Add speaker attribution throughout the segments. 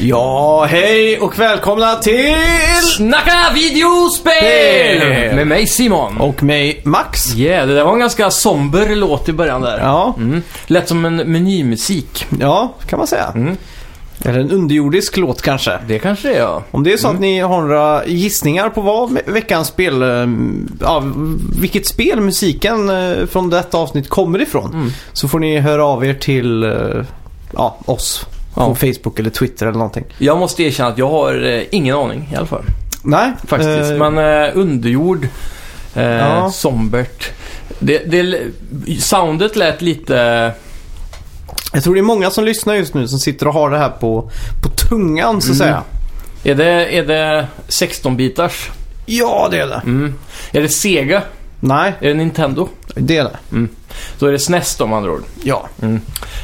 Speaker 1: Ja, hej och välkomna till...
Speaker 2: Snacka videospel! Med mig Simon.
Speaker 1: Och mig Max.
Speaker 2: Yeah, det där var en ganska somber låt i början där.
Speaker 1: Ja,
Speaker 2: Mm. Lät som en menymusik.
Speaker 1: ja, kan man säga.
Speaker 2: Mm.
Speaker 1: Eller en underjordisk låt kanske.
Speaker 2: Det kanske det är ja.
Speaker 1: Om det är så
Speaker 2: Mm.
Speaker 1: att ni har några gissningar på vad ve- veckans spel... eh, Ja, vilket spel musiken eh, från detta avsnitt kommer ifrån.
Speaker 2: Mm.
Speaker 1: Så får ni höra av er till eh, ja, oss. På
Speaker 2: Ja.
Speaker 1: Facebook eller Twitter eller någonting.
Speaker 2: Jag måste erkänna att jag har eh, ingen aning i alla fall.
Speaker 1: Nej,
Speaker 2: Faktiskt.
Speaker 1: eh,
Speaker 2: Men eh, underjord, eh,
Speaker 1: Ja.
Speaker 2: sombert. Det, det, l- soundet lät lite...
Speaker 1: Jag tror det är många som lyssnar just nu som sitter och har det här på, på tungan så att
Speaker 2: Mm.
Speaker 1: säga.
Speaker 2: Är det, är det 16-bitars?
Speaker 1: Ja, det är det.
Speaker 2: Mm. Är det Sega?
Speaker 1: Nej,
Speaker 2: Är det Nintendo?
Speaker 1: det är det.
Speaker 2: Då är det SNES då med andra ord.
Speaker 1: Ja.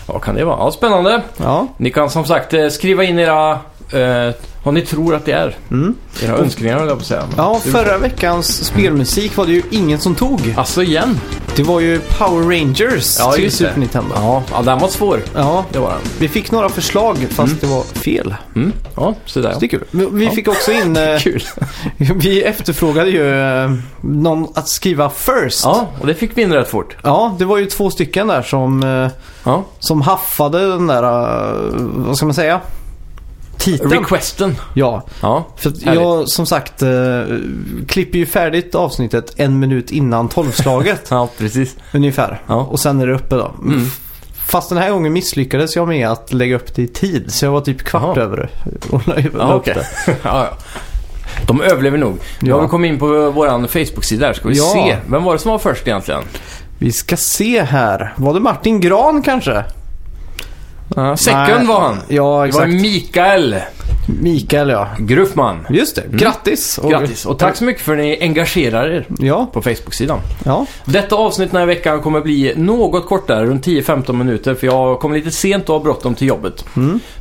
Speaker 2: Vad kan det vara? Ja, spännande.
Speaker 1: Ja.
Speaker 2: Ni kan som sagt eh, skriva in era, eh, vad ni tror att det är.
Speaker 1: Mm.
Speaker 2: Era önskningar höll jag på att säga. Men-
Speaker 1: Ja, förra veckans spelmusik var det ju ingen som tog.
Speaker 2: Alltså igen?
Speaker 1: Det var ju Power Rangers
Speaker 2: Ja,
Speaker 1: till
Speaker 2: just det.
Speaker 1: Super Nintendo. Ja.
Speaker 2: Ja, ja den var svår. Det var den.
Speaker 1: vi fick några förslag fast det var fel.
Speaker 2: Mm. Ja, så där.
Speaker 1: Så det är kul. Men Vi
Speaker 2: Ja.
Speaker 1: fick också in, eh,
Speaker 2: Kul.
Speaker 1: vi efterfrågade ju eh, någon att skriva first.
Speaker 2: Ja, och det fick vi in rätt fort.
Speaker 1: Ja, det var ju två stycken där som, eh,
Speaker 2: Ja.
Speaker 1: som haffade den där, eh, vad ska man säga? Titeln.
Speaker 2: Requesten.
Speaker 1: ja,
Speaker 2: Ja.
Speaker 1: För att
Speaker 2: Härligt.
Speaker 1: jag som sagt eh, klipper ju färdigt avsnittet en minut innan tolvslaget
Speaker 2: Ja, precis.
Speaker 1: ungefär.
Speaker 2: Ja. Mm.
Speaker 1: Och sen är det uppe då. Fast den här gången misslyckades jag med att lägga upp det i tid. Så jag var typ kvart
Speaker 2: Jaha.
Speaker 1: över det. och la- la
Speaker 2: Ja,
Speaker 1: upp
Speaker 2: okej.
Speaker 1: det.
Speaker 2: ja, ja. De överlever nog. Nu
Speaker 1: Ja.
Speaker 2: har vi kommit in på vår Facebook-sida här. Ska vi
Speaker 1: Ja.
Speaker 2: se. Vem var det som var först egentligen?
Speaker 1: Vi ska se här. Var det Martin Gran kanske?
Speaker 2: Ja, Second
Speaker 1: Nej.
Speaker 2: var han.
Speaker 1: Ja,
Speaker 2: Det var
Speaker 1: exakt.
Speaker 2: Mikael
Speaker 1: Mikael ja.
Speaker 2: Gruffman.
Speaker 1: Just det. Grattis! Och-
Speaker 2: Grattis och tack så mycket för att ni engagerar er
Speaker 1: Ja,
Speaker 2: på Facebook-sidan.
Speaker 1: ja.
Speaker 2: Detta avsnitt den här veckan kommer bli något kortare, runt 10-15 minuter, för jag kom lite sent och har bråttom till jobbet.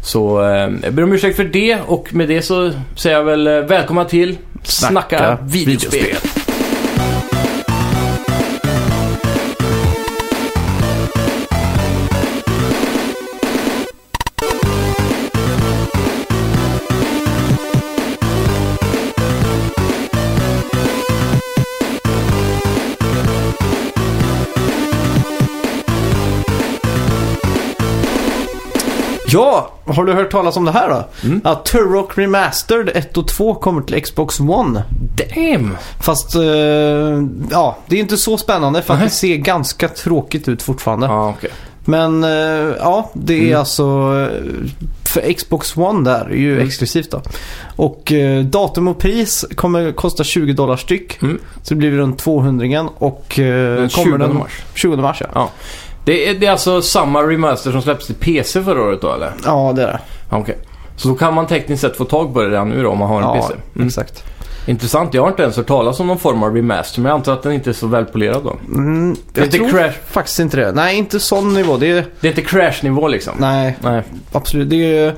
Speaker 2: Så eh, jag ber om ursäkt för det och med det så säger jag väl eh, välkomna till Snacka,
Speaker 1: Snacka
Speaker 2: videospel.
Speaker 1: videospel. Ja, har du hört talas om det här då?
Speaker 2: Mm.
Speaker 1: Att Turok Remastered 1 och 2 kommer till Xbox One.
Speaker 2: Damn!
Speaker 1: Fast eh, ja, det är inte så spännande för att det ser ganska tråkigt ut fortfarande.
Speaker 2: Ja, Ah, okej.
Speaker 1: Men eh, ja, det är
Speaker 2: Mm.
Speaker 1: alltså eh, för Xbox One där, är ju
Speaker 2: Mm.
Speaker 1: exklusivt då. Och eh, datum och pris kommer kosta 20 dollar styck.
Speaker 2: Mm.
Speaker 1: Så det blir runt 200 och eh,
Speaker 2: Den
Speaker 1: kommer
Speaker 2: 20
Speaker 1: den
Speaker 2: mars.
Speaker 1: 20 mars ja.
Speaker 2: Ja. Det är, det är alltså samma remaster som släpptes till PC förra året då eller?
Speaker 1: Ja, det är det.
Speaker 2: Ja, okej. Så då kan man tekniskt sett få tag på det redan nu då om man har en
Speaker 1: Ja,
Speaker 2: PC? Mm.
Speaker 1: exakt.
Speaker 2: Intressant, jag har inte ens hört talas om någon form av remaster men jag antar att den inte är så välpolerad då.
Speaker 1: Mm,
Speaker 2: Det är
Speaker 1: jag
Speaker 2: inte
Speaker 1: tror
Speaker 2: crash.
Speaker 1: faktiskt inte det. Nej, inte sån nivå. Det är,
Speaker 2: Det är inte crash-nivå liksom?
Speaker 1: nej,
Speaker 2: Nej.
Speaker 1: absolut. Det är,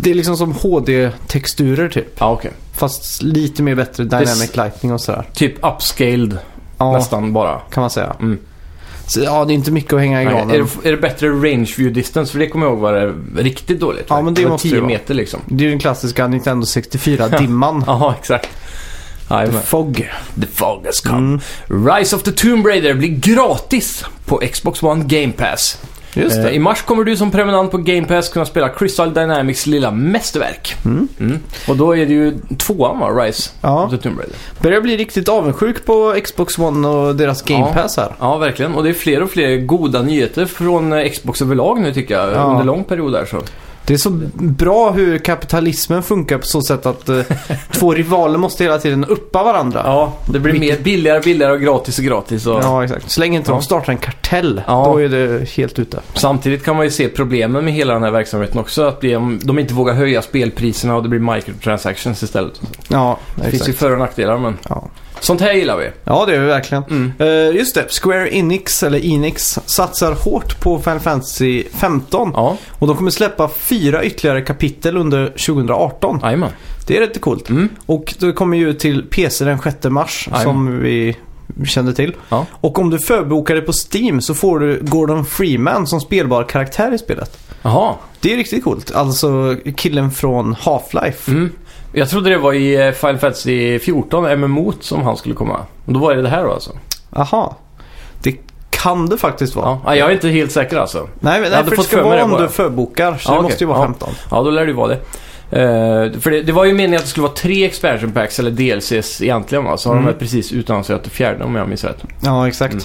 Speaker 1: det är liksom som HD-texturer typ.
Speaker 2: Ja, okej.
Speaker 1: Fast lite mer bättre dynamic
Speaker 2: s-
Speaker 1: lighting och sådär.
Speaker 2: Typ upscaled
Speaker 1: Ja,
Speaker 2: nästan bara.
Speaker 1: kan man säga.
Speaker 2: Mm.
Speaker 1: Så, ja, det är inte mycket att hänga i
Speaker 2: Nej,
Speaker 1: granen.
Speaker 2: är, det, är det bättre range view distance? För det kommer jag ihåg var det riktigt dåligt.
Speaker 1: Ja,
Speaker 2: va?
Speaker 1: men det
Speaker 2: var
Speaker 1: måste
Speaker 2: 10
Speaker 1: det vara.
Speaker 2: meter liksom.
Speaker 1: Det är ju den klassiska Nintendo 64-dimman.
Speaker 2: Jaha, exakt.
Speaker 1: The Mm.
Speaker 2: Jajamän.
Speaker 1: Fog.
Speaker 2: The fog has come. Rise of the Tomb Raider blir gratis på Xbox One Game Pass.
Speaker 1: Just
Speaker 2: Eh, I mars kommer du som prenumerant på Game Pass kunna spela Crystal Dynamics lilla mästerverk. Mm. Och då är det ju tvåan va, Rise
Speaker 1: Ja.
Speaker 2: of the Tomb Raider.
Speaker 1: Börjar bli riktigt avundsjuk på Xbox One och deras Game
Speaker 2: Ja.
Speaker 1: Pass här.
Speaker 2: Ja, verkligen. Och det är fler och fler goda nyheter från eh, Xbox överlag nu tycker jag.
Speaker 1: Ja.
Speaker 2: Under lång period där så.
Speaker 1: Det är så bra hur kapitalismen funkar på så sätt att eh, två rivaler måste hela tiden uppa varandra.
Speaker 2: Ja, det blir
Speaker 1: Vilket-
Speaker 2: mer billigare och billigare och gratis och gratis. Och...
Speaker 1: Ja, exakt. Så länge inte
Speaker 2: Ja.
Speaker 1: de startar en kartell,
Speaker 2: Ja.
Speaker 1: då är det helt ute.
Speaker 2: Samtidigt kan man ju se problemen med hela den här verksamheten också. Att de, de inte vågar höja spelpriserna och det blir microtransactions istället.
Speaker 1: Ja,
Speaker 2: Det finns ju
Speaker 1: exakt.
Speaker 2: för och nackdelar men
Speaker 1: Ja.
Speaker 2: sånt här gillar vi.
Speaker 1: ja, det är vi verkligen.
Speaker 2: Mm.
Speaker 1: Eh, just det, Square Enix, eller Enix, satsar hårt på Final Fantasy 15.
Speaker 2: Ja,
Speaker 1: Och de kommer släppa fyra ytterligare kapitel under 2018.
Speaker 2: jajamän.
Speaker 1: Det är rätt coolt.
Speaker 2: Mm.
Speaker 1: Och det kommer ju till PC den 6 mars
Speaker 2: Aj.
Speaker 1: som vi kände till.
Speaker 2: Ja.
Speaker 1: Och om du förbokar det på Steam så får du Gordon Freeman som spelbar karaktär i spelet.
Speaker 2: Jaha.
Speaker 1: Det är riktigt coolt. Alltså killen från Half-Life.
Speaker 2: Mm. Jag trodde det var i eh, Final Fantasy 14, MMO, som han skulle komma. Och då var det det här då alltså?
Speaker 1: Aha. Det kan det faktiskt vara.
Speaker 2: Ja. Ja, jag är inte helt säker alltså.
Speaker 1: Nej, men nej,
Speaker 2: hade
Speaker 1: för det
Speaker 2: fått
Speaker 1: ska
Speaker 2: för mig
Speaker 1: vara
Speaker 2: det
Speaker 1: om
Speaker 2: bara.
Speaker 1: du förbokar. Så
Speaker 2: Ja,
Speaker 1: det
Speaker 2: okej.
Speaker 1: måste ju vara
Speaker 2: Ja.
Speaker 1: 15.
Speaker 2: Ja, då lär det ju vara det. Eh, för det, det var ju meningen att det skulle vara tre expansion packs eller DLCs egentligen va? Så har
Speaker 1: Mm.
Speaker 2: de precis utannonserat det fjärde om jag minns rätt.
Speaker 1: Ja, exakt.
Speaker 2: Mm.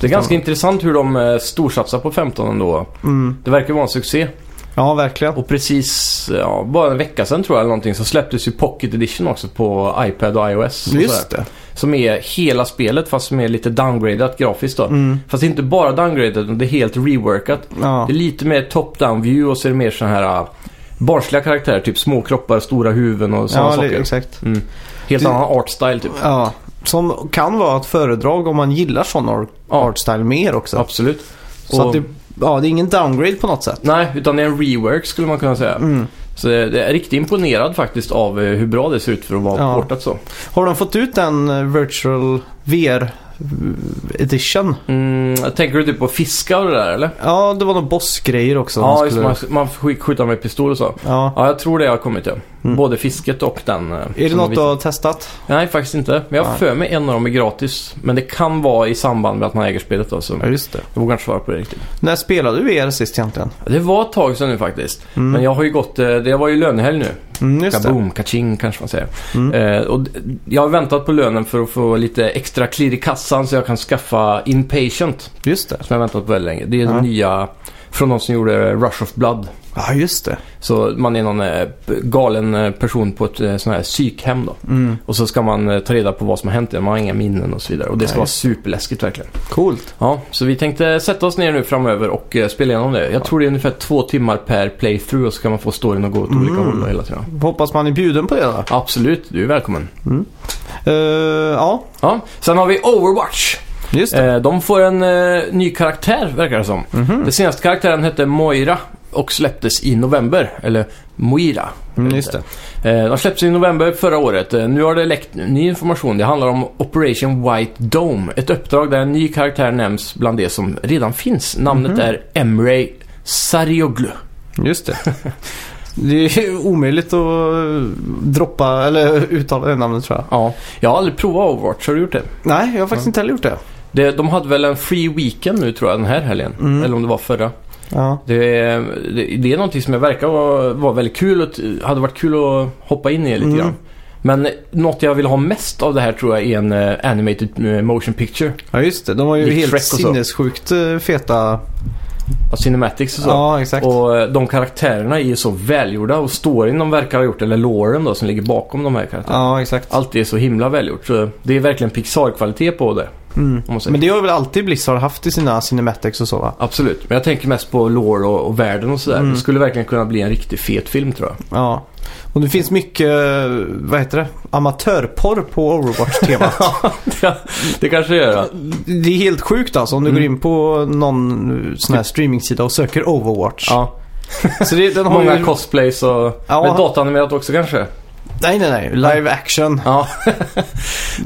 Speaker 2: Det är ganska intressant hur de eh, storsatsar på 15 ändå.
Speaker 1: Mm.
Speaker 2: Det verkar vara en succé.
Speaker 1: Ja, verkligen.
Speaker 2: Och precis, ja, bara en vecka sedan tror jag eller någonting så släpptes ju Pocket Edition också på iPad och iOS. Och
Speaker 1: Just
Speaker 2: sådär.
Speaker 1: det.
Speaker 2: Som är hela spelet fast som är lite downgradat grafiskt då.
Speaker 1: Mm.
Speaker 2: Fast det är inte bara downgradat utan det är helt reworkat.
Speaker 1: Ja.
Speaker 2: Det är lite mer top-down view och så är det mer sådana här äh, barnsliga karaktärer. Typ små kroppar, stora huvuden och sådana
Speaker 1: Ja, det-
Speaker 2: saker.
Speaker 1: exakt.
Speaker 2: Mm. Helt
Speaker 1: Det-
Speaker 2: annan art style typ.
Speaker 1: Ja. Som kan vara ett föredrag om man gillar sån ar-
Speaker 2: Ja.
Speaker 1: artstyle mer också.
Speaker 2: Absolut.
Speaker 1: Så
Speaker 2: Och-
Speaker 1: att det, ja, det är ingen downgrade på något sätt.
Speaker 2: Nej, utan det är en rework skulle man kunna säga.
Speaker 1: Mm.
Speaker 2: Så jag är riktigt imponerad faktiskt av eh, hur bra det ser ut för att vara
Speaker 1: Ja.
Speaker 2: portat så.
Speaker 1: Har de fått ut den eh, Virtual VR Edition?
Speaker 2: Mm, jag tänker du typ på fiska och det där eller?
Speaker 1: Ja, det var några bossgrejer också.
Speaker 2: ja,
Speaker 1: de
Speaker 2: just det. Man, man får sk- skjuta med pistol och så.
Speaker 1: ja.
Speaker 2: Ja, jag tror det har kommit ja.
Speaker 1: Mm.
Speaker 2: Både fisket och den. eh,
Speaker 1: Är det
Speaker 2: som
Speaker 1: något
Speaker 2: vi-
Speaker 1: du har testat?
Speaker 2: Nej, faktiskt inte. Men jag har
Speaker 1: Nej.
Speaker 2: för mig en av dem är gratis. Men det kan vara i samband med att man äger spelet då, så
Speaker 1: Ja, just det.
Speaker 2: jag vågar inte svara på det riktigt.
Speaker 1: När spelade du VR sist egentligen?
Speaker 2: Det var ett tag sedan nu faktiskt.
Speaker 1: Mm.
Speaker 2: Men jag har ju gått, eh, det var ju lönehelg nu.
Speaker 1: Mm, just det.
Speaker 2: Kaboom, kaching kanske man säger.
Speaker 1: Mm.
Speaker 2: Eh, och d- jag har väntat på lönen för att få lite extra klirr i kassan så jag kan skaffa Inpatient.
Speaker 1: Just det.
Speaker 2: Som jag har väntat på väldigt länge. Det är
Speaker 1: Ja.
Speaker 2: den nya från de som gjorde Rush of Blood.
Speaker 1: Ja, just det.
Speaker 2: Så man är någon eh, p- galen eh, person på ett eh, sån här psykhem då.
Speaker 1: Mm.
Speaker 2: Och så ska man eh, ta reda på vad som har hänt. Man har inga minnen och så vidare. Och det ska
Speaker 1: Nej.
Speaker 2: vara superläskigt verkligen.
Speaker 1: Coolt.
Speaker 2: Ja, så vi tänkte sätta oss ner nu framöver och eh, spela igenom det. Jag tror det är ungefär två timmar per playthrough och så kan man få storyn att gå åt olika
Speaker 1: Mm.
Speaker 2: håll hela tiden.
Speaker 1: Hoppas man är bjuden på det då.
Speaker 2: Absolut, du är välkommen.
Speaker 1: Eh, ja,
Speaker 2: Ja, sen har vi Overwatch.
Speaker 1: just det.
Speaker 2: Eh, de får en eh, ny karaktär verkar det som. Den senaste karaktären hette Moira och släpptes i november. Eller Moira.
Speaker 1: Mm, just det.
Speaker 2: Eh, de släpptes i november förra året. Eh, nu har det läckt ny information. Det handlar om Operation White Dome. Ett uppdrag där en ny karaktär nämns bland det som redan finns. Namnet
Speaker 1: Mhm.
Speaker 2: är Emre Sarioglu.
Speaker 1: Just det. Det är ju omöjligt att droppa eller uttala det namnet tror jag.
Speaker 2: Ja, jag har aldrig provat Overwatch. Har du gjort det?
Speaker 1: Nej, jag har faktiskt inte heller gjort det.
Speaker 2: det? De hade väl en free weekend nu tror jag, den här helgen.
Speaker 1: Mm.
Speaker 2: Eller om det var förra.
Speaker 1: Ja.
Speaker 2: Det är, det, det är någonting som jag verkar vara, vara väldigt kul och t- hade varit kul att hoppa in i lite
Speaker 1: Mm.
Speaker 2: grann. Men eh, något jag vill ha mest av det här tror jag är en eh, animated eh, motion picture.
Speaker 1: ja, just det. De har ju
Speaker 2: Likt
Speaker 1: helt
Speaker 2: Shrek och så.
Speaker 1: sinnessjukt eh, feta...
Speaker 2: Av cinematics och så.
Speaker 1: Ja, exakt.
Speaker 2: och eh, de karaktärerna är ju så välgjorda och storyn de verkar ha gjort, eller loren då som ligger bakom de här karaktärerna.
Speaker 1: Ja, exakt.
Speaker 2: Allt är så himla välgjort. Så det är verkligen Pixar-kvalitet på det.
Speaker 1: Mm.
Speaker 2: Om man säger.
Speaker 1: Men det har väl alltid Blizzard haft i sina cinematics och så va?
Speaker 2: Absolut. Men jag tänker mest på lore och, och världen och sådär.
Speaker 1: Mm.
Speaker 2: Det skulle verkligen kunna bli en riktigt fet film tror jag.
Speaker 1: Ja. Och det finns mycket, eh, vad heter det, amatörporr på Overwatch-temat.
Speaker 2: det kanske gör det.
Speaker 1: det är helt sjukt alltså om du
Speaker 2: Mm.
Speaker 1: går in på någon eh, sån här streamingsida och söker Overwatch.
Speaker 2: Ja.
Speaker 1: Så det, den har
Speaker 2: Många
Speaker 1: ju...
Speaker 2: cosplays och...
Speaker 1: Ja.
Speaker 2: Men dataanimerat också kanske?
Speaker 1: Nej, nej, nej. Live action.
Speaker 2: Ja.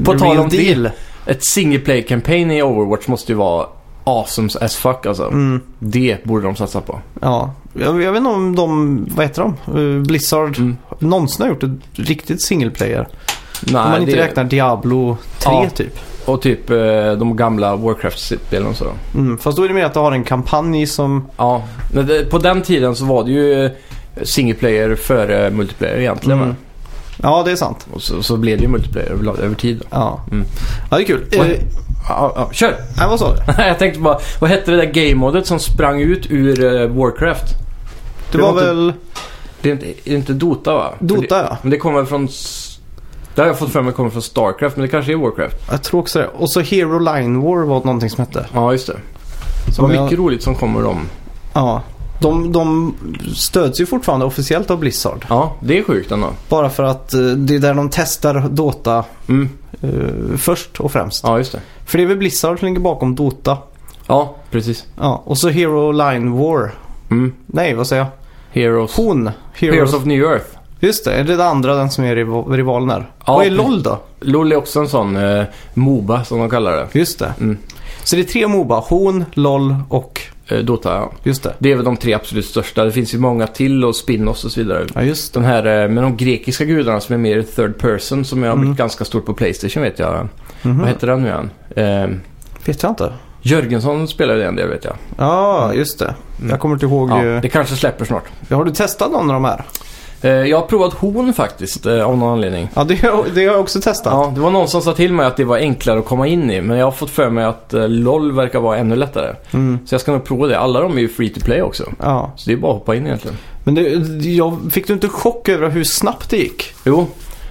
Speaker 2: På
Speaker 1: The
Speaker 2: tal
Speaker 1: real
Speaker 2: om
Speaker 1: deal.
Speaker 2: det. Ett single play campaign i Overwatch måste ju vara awesome as fuck alltså.
Speaker 1: Mm,
Speaker 2: Det borde de satsa på.
Speaker 1: ja. Jag, jag vet inte om de, vad heter de? Eh, Blizzard
Speaker 2: Mm.
Speaker 1: någonsin har gjort ett riktigt single player. om man
Speaker 2: Nej,
Speaker 1: inte
Speaker 2: det...
Speaker 1: räknar Diablo 3
Speaker 2: Ja.
Speaker 1: typ.
Speaker 2: Och typ eh, de gamla Warcraft-spelen och så.
Speaker 1: Mm, fast då är det mer att du har en kampanj som...
Speaker 2: Ja, men det, på den tiden så var det ju eh, single player före multiplayer egentligen.
Speaker 1: Mm.
Speaker 2: va?
Speaker 1: Ja, det är sant.
Speaker 2: Och så, så blev det ju multiplayer över, över tid. då.
Speaker 1: Ja,
Speaker 2: Mm.
Speaker 1: ja det är kul.
Speaker 2: Vad-
Speaker 1: Eh,
Speaker 2: Ja, ja, kör!
Speaker 1: nej, vad sa du?
Speaker 2: Jag tänkte bara, vad hette det där game-modet som sprang ut ur eh, Warcraft?
Speaker 1: Det
Speaker 2: Det var
Speaker 1: var
Speaker 2: inte-
Speaker 1: väl
Speaker 2: Det är inte, är det inte Dota va? För
Speaker 1: Dota ja.
Speaker 2: Det, men det kommer från... s- Det har jag fått för mig kommer från Starcraft, men det kanske är Warcraft.
Speaker 1: Jag tror också det. Och så Hero Line War var någonting som hette.
Speaker 2: Ja, just det. Det
Speaker 1: Som
Speaker 2: var
Speaker 1: jag-
Speaker 2: mycket roligt som kommer om.
Speaker 1: Ja. De, de stöds ju fortfarande officiellt av Blizzard.
Speaker 2: Ja, det är sjukt ändå.
Speaker 1: Bara för att eh, det är där de testar Dota
Speaker 2: Mm.
Speaker 1: eh, först och främst.
Speaker 2: Ja, just det.
Speaker 1: För det är väl Blizzard som ligger bakom Dota.
Speaker 2: Ja, precis.
Speaker 1: Ja. Och så Hero Line War.
Speaker 2: Mm.
Speaker 1: Nej, vad säger jag?
Speaker 2: Heroes.
Speaker 1: Hon. Heroes.
Speaker 2: Heroes of New Earth.
Speaker 1: Just det, är det det andra den som är rival- rivalen där?
Speaker 2: Ja.
Speaker 1: Vad är LOL då?
Speaker 2: LOL är också en sån eh, Moba som de kallar det.
Speaker 1: Just det.
Speaker 2: Mm.
Speaker 1: Så det är tre Moba. Hon, LOL och
Speaker 2: eh, Dota. Ja.
Speaker 1: Just det.
Speaker 2: Det är väl de tre absolut största. Det finns ju många till och spin-offs och så vidare.
Speaker 1: Ja, just det.
Speaker 2: De här eh, med de grekiska gudarna som är mer third person som har blivit
Speaker 1: Mm.
Speaker 2: ganska stort på Playstation vet jag.
Speaker 1: Mhm.
Speaker 2: Vad heter den nu igen? Eh,
Speaker 1: Vet jag inte.
Speaker 2: Jörgensson spelar ju det en del vet jag.
Speaker 1: Ja, just det. Jag kommer inte ihåg.
Speaker 2: Mm. Ja,
Speaker 1: eh,
Speaker 2: det kanske släpper snart.
Speaker 1: Har du testat någon av de här?
Speaker 2: Eh, jag har provat Horn faktiskt eh, av någon anledning.
Speaker 1: Ja, det, har- det har jag också testat.
Speaker 2: Ja, det var någon som sa till mig att det var enklare att komma in i men jag har fått för mig att eh, LOL verkar vara ännu lättare.
Speaker 1: Mm.
Speaker 2: Så jag ska nog prova det. Alla de är ju free to play också.
Speaker 1: Ja.
Speaker 2: Så det är bara att hoppa in egentligen.
Speaker 1: Men det, jag, fick du inte chock över hur snabbt det gick?
Speaker 2: Jo,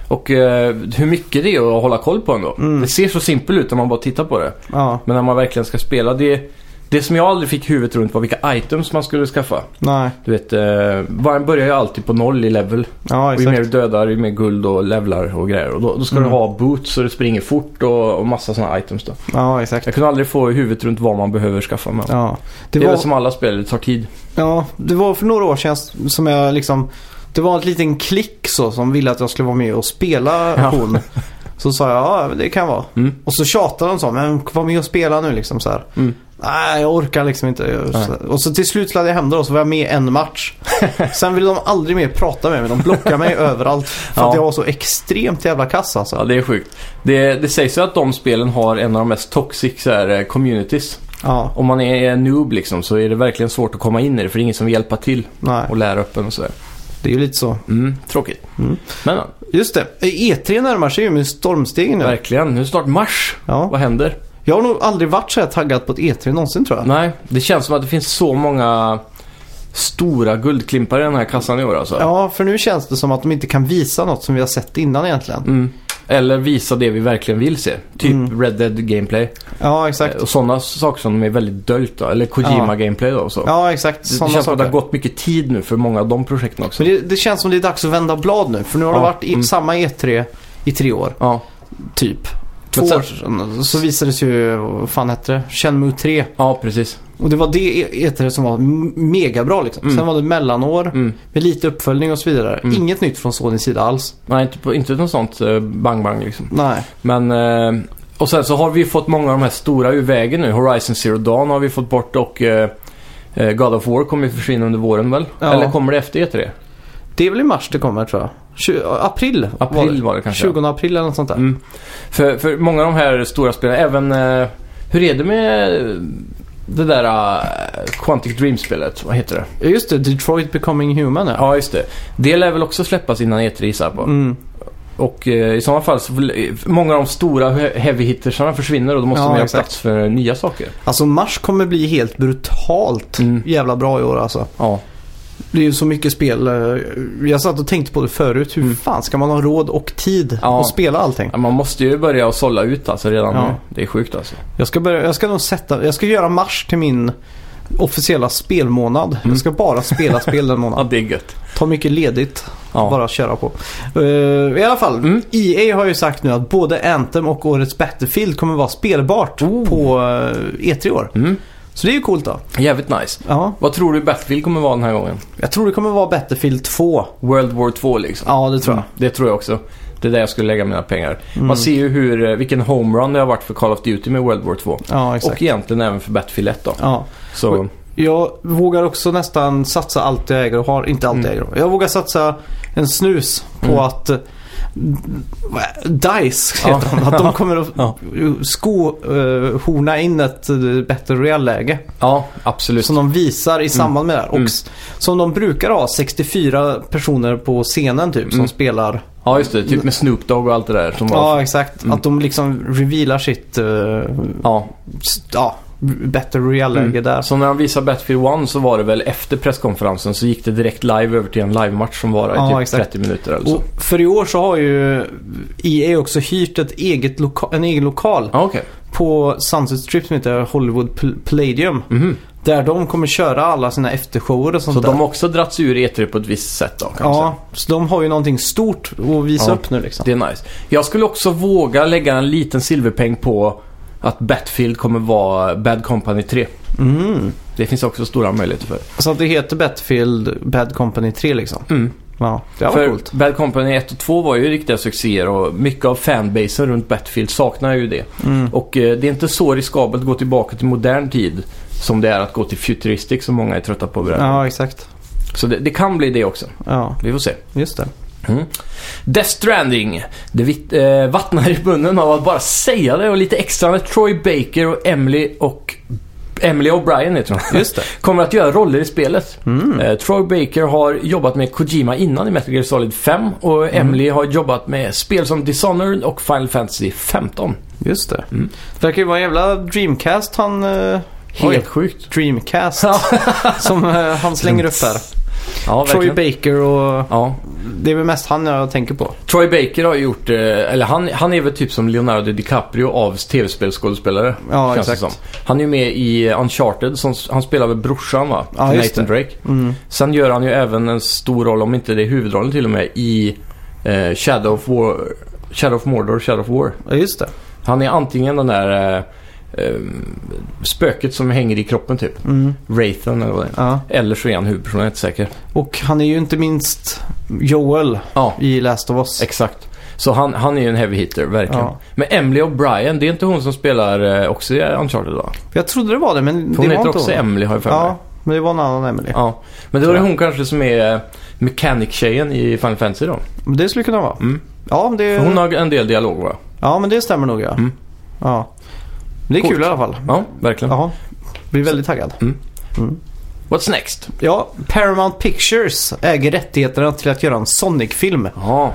Speaker 2: och eh, hur mycket det är att hålla koll på ändå.
Speaker 1: Mm.
Speaker 2: Det ser så simpelt ut när man bara tittar på det.
Speaker 1: Ja,
Speaker 2: Men när man verkligen ska spela, det, det som jag aldrig fick huvudet runt var vilka items man skulle skaffa.
Speaker 1: nej.
Speaker 2: Du vet, eh, man börjar ju alltid på noll i level.
Speaker 1: Ja,
Speaker 2: Och ju mer
Speaker 1: exakt.
Speaker 2: du dödar, ju mer guld och levlar och grejer. Och då, då ska
Speaker 1: Mm.
Speaker 2: du ha boots och det springer fort och, och massa sådana items då.
Speaker 1: Ja, exakt.
Speaker 2: Jag kunde aldrig få huvudet runt vad man behöver skaffa med.
Speaker 1: Ja.
Speaker 2: Det,
Speaker 1: Det, var,
Speaker 2: är väl som alla spel, det tar tid.
Speaker 1: ja, det var för några år sedan som jag liksom... Det var en liten klick så som ville att jag skulle vara med och spela
Speaker 2: Ja.
Speaker 1: hon. Så sa jag, ja det kan vara.
Speaker 2: Mm.
Speaker 1: Och så tjatade de så, men var med och spela nu liksom så här.
Speaker 2: Mm.
Speaker 1: Nej, jag orkar liksom inte.
Speaker 2: Nej.
Speaker 1: Och så till slut laddade jag hem det och så var jag med i en match. Sen ville de aldrig mer prata med mig. De blockade mig överallt. För att
Speaker 2: Ja.
Speaker 1: jag var så extremt jävla kass alltså.
Speaker 2: Ja, det är sjukt. Det, det sägs ju att de spelen har en av de mest toxic så här, eh, communities.
Speaker 1: Ja,
Speaker 2: Om man är noob liksom så är det verkligen svårt att komma in i det för det är ingen som vill hjälpa till
Speaker 1: nej.
Speaker 2: och lära upp en och sådär.
Speaker 1: Det är ju lite så.
Speaker 2: Mm, tråkigt.
Speaker 1: Mm.
Speaker 2: Men ja,
Speaker 1: Just det. E3 närmar sig ju med stormsteg nu.
Speaker 2: verkligen. Nu är det snart mars.
Speaker 1: Ja.
Speaker 2: Vad händer?
Speaker 1: Jag har nog aldrig varit så här taggad på ett E3 någonsin tror jag.
Speaker 2: Nej, det känns som att det finns så många stora guldklimpar i den här kassan i år alltså.
Speaker 1: Ja, för nu känns det som att de inte kan visa något som vi har sett innan egentligen.
Speaker 2: Mm. Eller visa det vi verkligen vill se. Typ
Speaker 1: Mm.
Speaker 2: Red Dead Gameplay.
Speaker 1: Ja, exakt.
Speaker 2: Eh, Och sådana saker som är väldigt dolt då. Eller Kojima Gameplay då och så.
Speaker 1: Ja, exakt.
Speaker 2: det, det
Speaker 1: Sådana
Speaker 2: känns som att det
Speaker 1: saker.
Speaker 2: har gått mycket tid nu för många av de projekten också.
Speaker 1: Men det, det känns som det är dags att vända blad nu. För nu har det
Speaker 2: Ja,
Speaker 1: varit i,
Speaker 2: mm.
Speaker 1: samma E3 i tre år,
Speaker 2: Ja.
Speaker 1: typ. Två
Speaker 2: Men sen-
Speaker 1: år sedan så visades ju, vad fan hette det? Shenmue 3.
Speaker 2: ja, precis.
Speaker 1: Och det var det E- E3 som var m- megabra liksom.
Speaker 2: Mm.
Speaker 1: Sen var det mellanår
Speaker 2: Mm.
Speaker 1: med lite uppföljning och så vidare.
Speaker 2: Mm.
Speaker 1: Inget nytt från Sonys sida alls.
Speaker 2: Nej, inte, på, inte något sånt eh, bang bang liksom.
Speaker 1: Nej.
Speaker 2: Men... Eh, och sen så har vi fått många av de här stora ur vägen nu. Horizon Zero Dawn har vi fått bort och... Eh, eh, God of War kommer ju försvinna under våren väl?
Speaker 1: Ja.
Speaker 2: Eller kommer det efter E E3?
Speaker 1: Det är väl i mars det kommer tror jag. Tju- april. var det.
Speaker 2: April var det kanske.
Speaker 1: 20 april eller något sånt där.
Speaker 2: Mm. För, för många av de här stora spelen, även... Eh, hur är det med eh, det där eh, Quantic Dream-spelet? Vad heter det?
Speaker 1: Ja, Just det, Detroit Becoming Human ja.
Speaker 2: Ja, just det. Det lär väl också släppas innan E3 gissar jag på.
Speaker 1: Mm.
Speaker 2: Och eh, i sådana fall så vill, många av de stora he- heavy hittersarna försvinner och då måste
Speaker 1: Ja,
Speaker 2: man göra
Speaker 1: exakt.
Speaker 2: plats för nya saker.
Speaker 1: Alltså mars kommer bli helt brutalt
Speaker 2: Mm.
Speaker 1: jävla bra i år alltså.
Speaker 2: Ja.
Speaker 1: Det är ju så mycket spel. eh, Jag satt och tänkte på det förut. Hur
Speaker 2: Mm.
Speaker 1: fan ska man ha råd och tid
Speaker 2: Ja.
Speaker 1: att spela allting?
Speaker 2: Ja, Man måste ju börja och sålla ut alltså redan
Speaker 1: Ja.
Speaker 2: nu. Det är sjukt alltså.
Speaker 1: Jag ska, börja, jag ska nog sätta, jag ska göra mars till min officiella spelmånad. Jag ska bara spela spel den
Speaker 2: Ja,
Speaker 1: månaden.
Speaker 2: det är gött.
Speaker 1: Ta mycket ledigt.
Speaker 2: Ja.
Speaker 1: Bara köra på. Eh, I alla fall,
Speaker 2: Mm.
Speaker 1: EA har ju sagt nu att både Anthem och årets Battlefield kommer vara spelbart
Speaker 2: Oh.
Speaker 1: på eh, E3 i år.
Speaker 2: Mm.
Speaker 1: Så det är ju coolt då.
Speaker 2: Jävligt nice.
Speaker 1: Ja,
Speaker 2: Vad tror du Battlefield kommer vara den här gången?
Speaker 1: jag tror det kommer vara Battlefield 2.
Speaker 2: World War 2 liksom?
Speaker 1: Ja, det tror jag.
Speaker 2: Det tror jag också. Det är där jag skulle lägga mina pengar.
Speaker 1: Mm.
Speaker 2: Man ser ju hur, eh, vilken homerun det har varit för Call of Duty med World War 2.
Speaker 1: Ja, exakt.
Speaker 2: Och egentligen även för Battlefield 1 då.
Speaker 1: Ja.
Speaker 2: Så,
Speaker 1: Jag vågar också nästan satsa allt jag äger och har. Inte allt jag äger. Jag vågar satsa en snus på
Speaker 2: Mm.
Speaker 1: att eh, DICE
Speaker 2: Ja.
Speaker 1: heter de. Att de kommer att
Speaker 2: Ja.
Speaker 1: skohorna in ett eh, Battle Royale-läge.
Speaker 2: ja, absolut.
Speaker 1: Som de visar i samband med det här. Och
Speaker 2: Mm.
Speaker 1: s- som de brukar ha 64 personer på scenen typ som
Speaker 2: Mm.
Speaker 1: spelar.
Speaker 2: Ja, just det. Typ med Snoop Dogg och allt det där som var...
Speaker 1: Ja exakt. Att de liksom revealar sitt eh,
Speaker 2: Ja,
Speaker 1: s- ja, Battle Royale-läge
Speaker 2: Mm.
Speaker 1: där.
Speaker 2: Så när de visade Battlefield 1 så var det väl efter presskonferensen så gick det direkt live över till en livematch som varade i
Speaker 1: Ja,
Speaker 2: typ
Speaker 1: exakt.
Speaker 2: 30 minuter eller så.
Speaker 1: Och för i år så har ju EA också hyrt ett eget loka- en egen lokal
Speaker 2: Ja, okej.
Speaker 1: på Sunset Strip som heter Hollywood Pl- Palladium.
Speaker 2: Mhm.
Speaker 1: Där de kommer köra alla sina eftershower och sånt
Speaker 2: Så
Speaker 1: där.
Speaker 2: de har också dragits ur E3 på ett visst sätt då kan man säga.
Speaker 1: Ja, så de har ju någonting stort att visa
Speaker 2: Ja.
Speaker 1: upp nu liksom.
Speaker 2: Det är nice. Jag skulle också våga lägga en liten silverpeng på att Battlefield kommer vara Bad Company 3.
Speaker 1: Mm.
Speaker 2: Det finns också stora möjligheter för.
Speaker 1: Så att det heter Battlefield Bad Company 3 liksom. Ja, det var
Speaker 2: Mm. för
Speaker 1: coolt.
Speaker 2: Bad Company 1 och 2 var ju riktiga succéer och mycket av fanbasen runt Battlefield saknar ju det.
Speaker 1: Mm.
Speaker 2: Och eh, det är inte så riskabelt att gå tillbaka till modern tid Som det är att gå till Futuristic som många är trötta på. Ja.
Speaker 1: Ja, exakt.
Speaker 2: Så det, det kan bli det också.
Speaker 1: Ja,
Speaker 2: Vi får se.
Speaker 1: just det.
Speaker 2: Mm. Death Stranding. Det vitt, eh, vattnar i munnen av att bara säga det och lite extra med Troy Baker och Emily och Emily O'Brien heter hon.
Speaker 1: Just det.
Speaker 2: Kommer att göra roller i spelet.
Speaker 1: Mm.
Speaker 2: Eh, Troy Baker har jobbat med Kojima innan i Metal Gear Solid 5 och
Speaker 1: Mm.
Speaker 2: Emily har jobbat med spel som Dishonored och Final Fantasy 15.
Speaker 1: Just det.
Speaker 2: Mm.
Speaker 1: Det verkar ju vara en jävla Dreamcast han... eh,
Speaker 2: Helt
Speaker 1: Helt
Speaker 2: sjukt.
Speaker 1: Dreamcast
Speaker 2: Ja.
Speaker 1: som eh, han slänger upp här.
Speaker 2: Ja,
Speaker 1: Troy
Speaker 2: verkligen.
Speaker 1: Baker och...
Speaker 2: Ja.
Speaker 1: Det är väl mest han jag tänker på.
Speaker 2: Troy Baker har gjort, eh, eller han, han är väl typ som Leonardo DiCaprio av tv-spelsskådespelare.
Speaker 1: Ja,
Speaker 2: känns det
Speaker 1: exakt.
Speaker 2: som. Han är ju med i Uncharted, som, han spelar väl brorsan va?
Speaker 1: Ja,
Speaker 2: Till
Speaker 1: just
Speaker 2: Nathan Drake.
Speaker 1: Mm.
Speaker 2: Sen gör han ju även en stor roll, om inte det är huvudrollen till och med, i eh, Shadow of War. Shadow of Mordor, Shadow of War.
Speaker 1: Ja, just det.
Speaker 2: Han är antingen den där eh, eh, spöket som hänger i kroppen typ.
Speaker 1: Mm.
Speaker 2: Wraithen eller vad det är.
Speaker 1: Ja.
Speaker 2: Eller så är han huvudpersonen, jag är inte säker.
Speaker 1: Och han är ju inte minst Joel
Speaker 2: Ja,
Speaker 1: i Last of Us.
Speaker 2: Exakt. Så han, han är ju en heavy hitter, verkligen.
Speaker 1: Ja.
Speaker 2: Men Emily O'Brien, det är inte hon som spelar eh, också i Uncharted va?
Speaker 1: Jag trodde det var det men
Speaker 2: För Hon
Speaker 1: det var
Speaker 2: heter
Speaker 1: inte
Speaker 2: också
Speaker 1: hon.
Speaker 2: Emily har jag för mig.
Speaker 1: Ja, men det var en annan Emily.
Speaker 2: Ja. Men då är
Speaker 1: Tror
Speaker 2: det
Speaker 1: jag.
Speaker 2: hon kanske som är eh, Mechanic-tjejen i Final Fantasy då.
Speaker 1: Men Det skulle kunna vara.
Speaker 2: Mm.
Speaker 1: Ja, men det,
Speaker 2: För hon har en del dialog va?
Speaker 1: ja, men det stämmer nog ja.
Speaker 2: Mm.
Speaker 1: ja. Men Det är
Speaker 2: Coolt.
Speaker 1: kul i alla fall.
Speaker 2: Ja, verkligen.
Speaker 1: Ja. Blir väldigt taggad.
Speaker 2: What's next?
Speaker 1: Ja, Paramount Pictures äger rättigheterna till att göra en Sonic-film.
Speaker 2: Ja,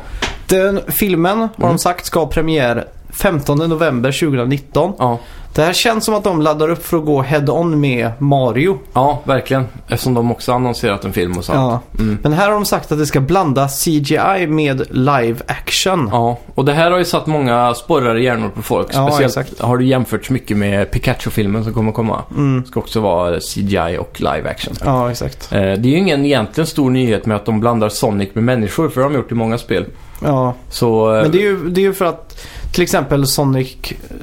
Speaker 1: Den filmen, har de
Speaker 2: Mm.
Speaker 1: sagt, ska ha premiär 15 november 2019.
Speaker 2: ja,
Speaker 1: Det här känns som att de laddar upp för att gå head-on med Mario.
Speaker 2: ja, verkligen. Eftersom de också har annonserat en film och sånt. Ja.
Speaker 1: Ja.
Speaker 2: Mm.
Speaker 1: Men här har de sagt att det ska blanda CGI med live action.
Speaker 2: ja, och det här har ju satt många sporrar i hjärnor på folk.
Speaker 1: Ja,
Speaker 2: Speciellt
Speaker 1: exakt.
Speaker 2: har det jämförts mycket med Pikachu-filmen som kommer komma.
Speaker 1: Mm.
Speaker 2: Det ska också vara eh, CGI och live action.
Speaker 1: Ja, exakt.
Speaker 2: Eh, Det är ju ingen egentligen stor nyhet med att de blandar Sonic med människor, för det har de gjort i många spel.
Speaker 1: Ja.
Speaker 2: Så, eh,
Speaker 1: Men det är, ju, det är ju för att till exempel Sonic,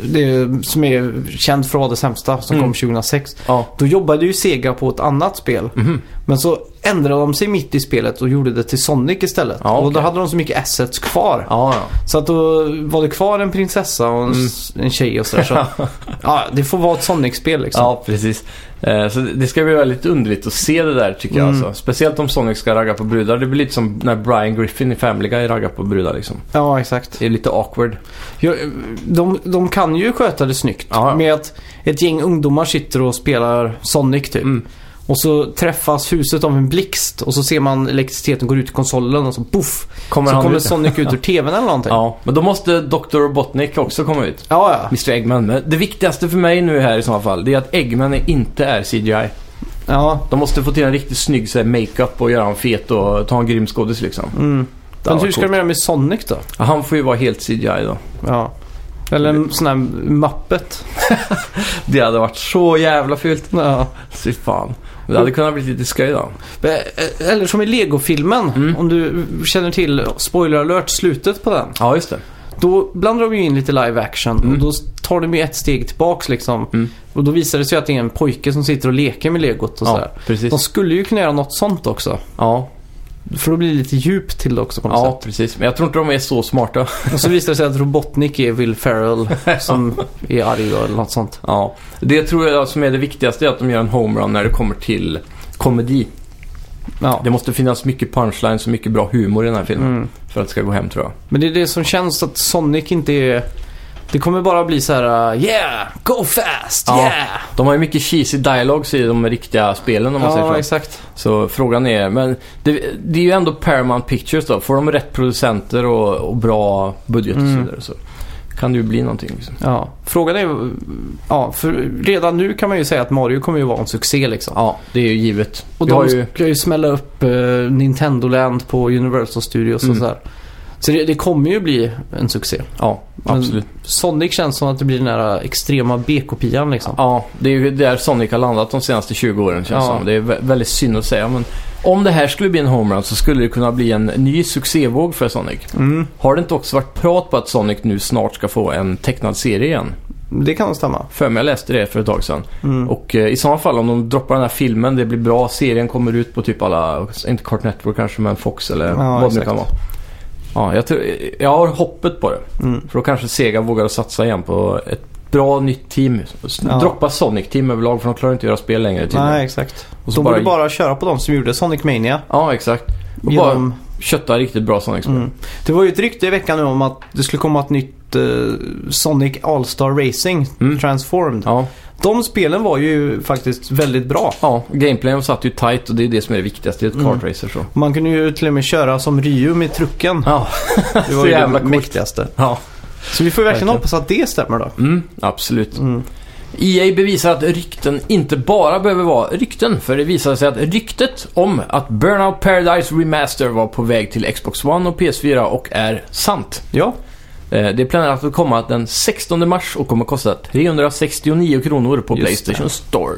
Speaker 1: det är, som är känd för att vara det sämsta, som
Speaker 2: Mm.
Speaker 1: kom 2006.
Speaker 2: ja.
Speaker 1: Då jobbade ju Sega på ett annat spel.
Speaker 2: Mhm.
Speaker 1: Men så ändrade de sig mitt i spelet och gjorde det till Sonic istället.
Speaker 2: Ja,
Speaker 1: Och då
Speaker 2: okej.
Speaker 1: hade de så mycket assets kvar.
Speaker 2: Ja, ja.
Speaker 1: Så att då var det kvar en prinsessa och en,
Speaker 2: Mm.
Speaker 1: s- en tjej och sådär. Så, ja, det får vara ett Sonic-spel liksom.
Speaker 2: ja, precis. Eh, Så det det ska bli väldigt underligt att se det där tycker jag. Alltså. Speciellt om Sonic ska ragga på brudar. Det blir lite som när Brian Griffin i Family Guy raggar på brudar liksom.
Speaker 1: ja exakt.
Speaker 2: Det är lite awkward.
Speaker 1: Ja, de, de kan ju sköta det snyggt
Speaker 2: Ja, ja.
Speaker 1: med att ett gäng ungdomar sitter och spelar Sonic typ.
Speaker 2: Mm.
Speaker 1: Och så träffas huset av en blixt och så ser man elektriciteten går ut i konsolen och så poff!
Speaker 2: Kommer
Speaker 1: så
Speaker 2: han
Speaker 1: kommer
Speaker 2: ut?
Speaker 1: Sonic ut ur TVn eller någonting.
Speaker 2: Ja, men då måste Dr. Robotnik också komma ut.
Speaker 1: ja. ja.
Speaker 2: Mr Eggman. Men det viktigaste för mig nu här i så fall, det är att Eggman är- inte är CGI.
Speaker 1: ja.
Speaker 2: De måste få till en riktigt snygg så här, makeup och göra honom fet och ta en grym skådis liksom.
Speaker 1: Mm.
Speaker 2: Det
Speaker 1: Men
Speaker 2: var
Speaker 1: hur ska
Speaker 2: coolt.
Speaker 1: de göra med Sonic då?
Speaker 2: Ja, Han får ju vara helt CGI då.
Speaker 1: Ja. Eller en sån här mappet.
Speaker 2: Det hade varit så jävla fult.
Speaker 1: Ja.
Speaker 2: Fy fan. Det hade kunnat bli lite skoj då.
Speaker 1: Eh, Eller som i Lego-filmen.
Speaker 2: Mm.
Speaker 1: Om du känner till, spoiler alert, slutet på den.
Speaker 2: Ja, just det.
Speaker 1: Då blandar de ju in lite live action och
Speaker 2: Mm.
Speaker 1: då tar de ju ett steg tillbaks liksom.
Speaker 2: Mm.
Speaker 1: Och då visar det sig att det är en pojke som sitter och leker med legot och
Speaker 2: Ja,
Speaker 1: sådär.
Speaker 2: precis.
Speaker 1: De skulle ju kunna göra något sånt också.
Speaker 2: Ja,
Speaker 1: För då blir det lite djupt till det också på något
Speaker 2: ja, precis. Men jag tror inte de är så smarta.
Speaker 1: sätt. Och så visar det sig att Robotnik är Will Ferrell som är arg då, eller något sånt.
Speaker 2: Ja. Det tror jag som är det viktigaste är att de gör en homerun när det kommer till komedi.
Speaker 1: Ja.
Speaker 2: Det måste finnas mycket punchlines och mycket bra humor i den här filmen.
Speaker 1: Mm.
Speaker 2: För att det ska gå hem tror jag.
Speaker 1: Men det är det som känns att Sonic inte är... Det kommer bara bli så här: uh, yeah, go fast,
Speaker 2: Ja,
Speaker 1: yeah!
Speaker 2: De har ju mycket cheesy dialogs i de riktiga spelen om man säger så.
Speaker 1: Ja, exakt.
Speaker 2: Så frågan är, men det, det är ju ändå Paramount Pictures då. Får de rätt producenter och, och bra budget och så
Speaker 1: Mm.
Speaker 2: vidare så kan det ju bli någonting. Liksom.
Speaker 1: Ja. Frågan är, ja, för redan nu kan man ju säga att Mario kommer ju vara en succé liksom.
Speaker 2: Ja, det är ju givet.
Speaker 1: Och
Speaker 2: Vi har
Speaker 1: de
Speaker 2: ju,
Speaker 1: ska ju smälla upp eh, Nintendo Land på Universal Studios
Speaker 2: Mm.
Speaker 1: och sådär. Så det, det kommer ju bli en succé.
Speaker 2: ja,
Speaker 1: Men-
Speaker 2: absolut.
Speaker 1: Sonic känns som att det blir den här extrema B-kopian liksom.
Speaker 2: Ja, det är ju där Sonic har landat de senaste 20 åren känns
Speaker 1: Ja.
Speaker 2: som. Det är vä- väldigt synd att säga, men om det här skulle bli en homerun så skulle det kunna bli en ny succévåg för Sonic.
Speaker 1: Mm,
Speaker 2: Har det inte också varit prat på att Sonic nu snart ska få en tecknad serie igen?
Speaker 1: det kan nog stämma.
Speaker 2: För mig, jag läste det för ett tag sedan.
Speaker 1: Mm.
Speaker 2: Och eh, i sådana fall om de droppar den här filmen, det blir bra, serien kommer ut på typ alla, inte Cart Network kanske men Fox eller
Speaker 1: Ja,
Speaker 2: vad det nu
Speaker 1: exakt.
Speaker 2: kan vara. Ja, jag, tror, jag har hoppet på det.
Speaker 1: Mm.
Speaker 2: För då kanske Sega vågar satsa igen på ett bra nytt team. S-
Speaker 1: Ja.
Speaker 2: Droppa Sonic Team överlag för de klarar inte att göra spel längre tydligen.
Speaker 1: Nej, exakt.
Speaker 2: Och så
Speaker 1: De
Speaker 2: bara...
Speaker 1: borde bara köra på de som gjorde Sonic Mania.
Speaker 2: Ja, exakt. Och bara
Speaker 1: Genom...
Speaker 2: kötta riktigt bra Sonic-spel.
Speaker 1: Mm. Det var ju ett rykte i veckan nu om att det skulle komma ett nytt eh, Sonic All-Star Racing
Speaker 2: Mm.
Speaker 1: Transformed.
Speaker 2: Ja,
Speaker 1: De spelen var ju faktiskt väldigt bra.
Speaker 2: ja gameplayen satt ju tight och det är det som är det viktigaste i ett
Speaker 1: Mm.
Speaker 2: kartracer så.
Speaker 1: Man kunde ju till och med köra som Ryu med trucken.
Speaker 2: Ja,
Speaker 1: Det var
Speaker 2: så
Speaker 1: ju
Speaker 2: jävla
Speaker 1: det
Speaker 2: coolt.
Speaker 1: mäktigaste.
Speaker 2: ja.
Speaker 1: Så vi får ju verkligen
Speaker 2: Verkligen.
Speaker 1: hoppas att det stämmer då.
Speaker 2: Mm, absolut.
Speaker 1: Mm.
Speaker 2: EA bevisar att rykten inte bara behöver vara rykten, för det visade sig att ryktet om att Burnout Paradise Remaster var på väg till Xbox One och PS4 och är sant.
Speaker 1: Ja,
Speaker 2: Eh, Det är planerat att komma den 16 mars och kommer kosta 369 kronor på
Speaker 1: Just
Speaker 2: Playstation
Speaker 1: det.
Speaker 2: Store.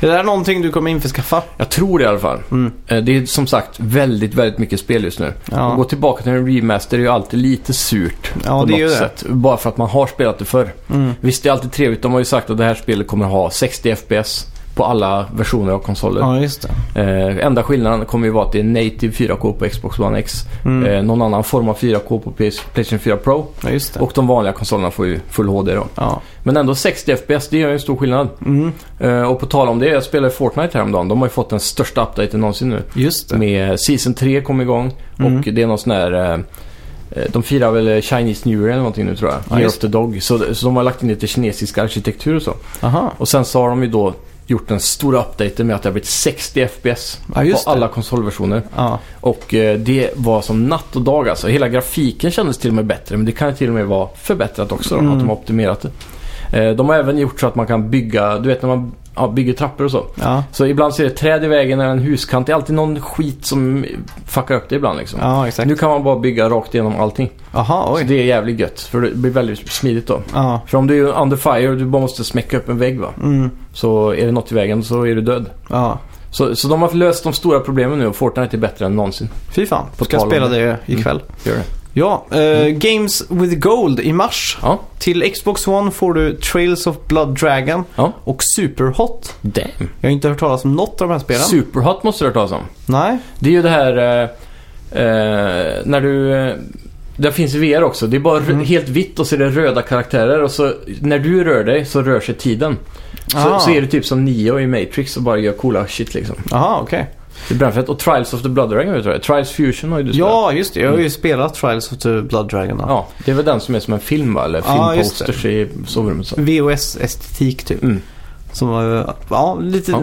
Speaker 1: är det här någonting du kommer införskaffa?
Speaker 2: Jag tror det i alla fall.
Speaker 1: Mm.
Speaker 2: Eh, Det är som sagt väldigt, väldigt mycket spel just nu. Att gå
Speaker 1: Ja.
Speaker 2: tillbaka till en remaster är ju alltid lite surt.
Speaker 1: ja,
Speaker 2: på
Speaker 1: det är
Speaker 2: något
Speaker 1: ju det.
Speaker 2: sätt. Bara för att man har spelat det förr.
Speaker 1: Mm.
Speaker 2: Visst, det är alltid trevligt. De har ju sagt att det här spelet kommer ha 60 FPS på alla versioner av konsoler.
Speaker 1: Ja, just det.
Speaker 2: Eh, enda skillnaden kommer ju vara att det är native 4K på Xbox One X.
Speaker 1: Mm.
Speaker 2: Eh, någon annan form av 4K på PS, Playstation 4 Pro.
Speaker 1: Ja, just det.
Speaker 2: Och de vanliga konsolerna får ju full HD då.
Speaker 1: Ja.
Speaker 2: Men ändå 60 FPS, det gör ju en stor skillnad.
Speaker 1: Mm.
Speaker 2: Eh, och på tal om det, jag spelade Fortnite häromdagen. De har ju fått den största updaten någonsin nu.
Speaker 1: Just det.
Speaker 2: Med Season 3 kom igång
Speaker 1: Mm.
Speaker 2: och det är någon sån här... eh, eh, De firar väl Chinese New Year eller någonting nu tror jag.
Speaker 1: Ja,
Speaker 2: Year
Speaker 1: just
Speaker 2: of the Dog. Så, så de har lagt in lite kinesisk arkitektur och så.
Speaker 1: Aha.
Speaker 2: Och sen så har de ju då gjort den stora updaten med att det har blivit 60 FPS
Speaker 1: Ja, just
Speaker 2: på
Speaker 1: det.
Speaker 2: alla konsolversioner.
Speaker 1: Ja.
Speaker 2: Och eh, det var som natt och dag alltså. Hela grafiken kändes till och med bättre. Men det kan ju till och med vara förbättrat också. då,
Speaker 1: Mm.
Speaker 2: Att de har optimerat det. Eh, De har även gjort så att man kan bygga, du vet när man ja, bygger trappor och så.
Speaker 1: Ja.
Speaker 2: Så ibland så är det träd i vägen eller en huskant. Det är alltid någon skit som fuckar upp det ibland liksom.
Speaker 1: ja, exakt.
Speaker 2: Nu kan man bara bygga rakt igenom allting.
Speaker 1: Aha,
Speaker 2: Så
Speaker 1: oj.
Speaker 2: det är jävligt gött. För det blir väldigt smidigt då.
Speaker 1: Ja.
Speaker 2: För om du är under fire och du bara måste smäcka upp en vägg va.
Speaker 1: Mm.
Speaker 2: Så är det något i vägen så är du död.
Speaker 1: Ja.
Speaker 2: Så, så de har löst de stora problemen nu och Fortnite är bättre än någonsin.
Speaker 1: Fy fan.
Speaker 2: På
Speaker 1: Ska
Speaker 2: tal om
Speaker 1: spela
Speaker 2: det. Mm.
Speaker 1: det ikväll.
Speaker 2: Gör det.
Speaker 1: Ja, eh, Games with Gold i mars.
Speaker 2: Ja.
Speaker 1: Till Xbox One får du Trails of Blood Dragon
Speaker 2: Ja.
Speaker 1: och Superhot.
Speaker 2: Damn.
Speaker 1: Jag har inte hört talas om något av de här spelen.
Speaker 2: Superhot måste du ha hört talas om.
Speaker 1: Nej.
Speaker 2: Det är ju det här eh, eh, när du... Eh, det finns VR också. Det är bara rö-
Speaker 1: Mm.
Speaker 2: helt vitt och så är det röda karaktärer och så när du rör dig så rör sig tiden. Så,
Speaker 1: Ah.
Speaker 2: så är det typ som Neo i Matrix och bara gör coola shit liksom.
Speaker 1: Aha, okej.
Speaker 2: Det är brännfett. Och Trials of the Blood Dragon vet du vad det är? Trials Fusion har ju du spelat.
Speaker 1: Ja, just det. Jag har ju spelat Trials of the Blood Dragon. då.
Speaker 2: Ja, det är väl den som är som en film va? Eller
Speaker 1: Ja, Ah, just det.
Speaker 2: filmposters i sovrummet så.
Speaker 1: VHS-estetik typ.
Speaker 2: Mm.
Speaker 1: Som var, ja, lite, ja.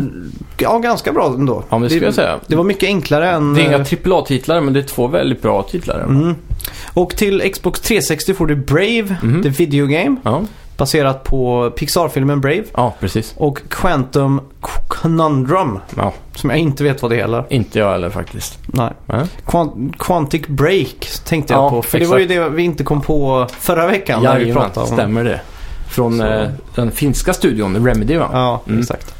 Speaker 2: Ja.
Speaker 1: ganska bra ändå.
Speaker 2: Ja, men det skulle jag säga.
Speaker 1: Det var mycket enklare än...
Speaker 2: Det är
Speaker 1: eh,
Speaker 2: inga AAA-titlar men det är två väldigt bra titlar.
Speaker 1: mm. Och till Xbox 360 får du Brave,
Speaker 2: Mhm.
Speaker 1: the video game,
Speaker 2: Ja.
Speaker 1: baserat på Pixar-filmen Brave.
Speaker 2: ja, precis.
Speaker 1: Och Quantum Conundrum,
Speaker 2: Ja,
Speaker 1: som jag inte vet vad det heller.
Speaker 2: inte jag heller faktiskt.
Speaker 1: Nej.
Speaker 2: Nej.
Speaker 1: Quant- Quantic Break tänkte jag
Speaker 2: Ja,
Speaker 1: på. För det var ju
Speaker 2: exakt.
Speaker 1: det vi inte kom på förra veckan när vi pratade om.
Speaker 2: stämmer det. Från
Speaker 1: Så.
Speaker 2: eh, den finska studion Remedy va? Ja,
Speaker 1: Ja,
Speaker 2: Mm.
Speaker 1: exakt.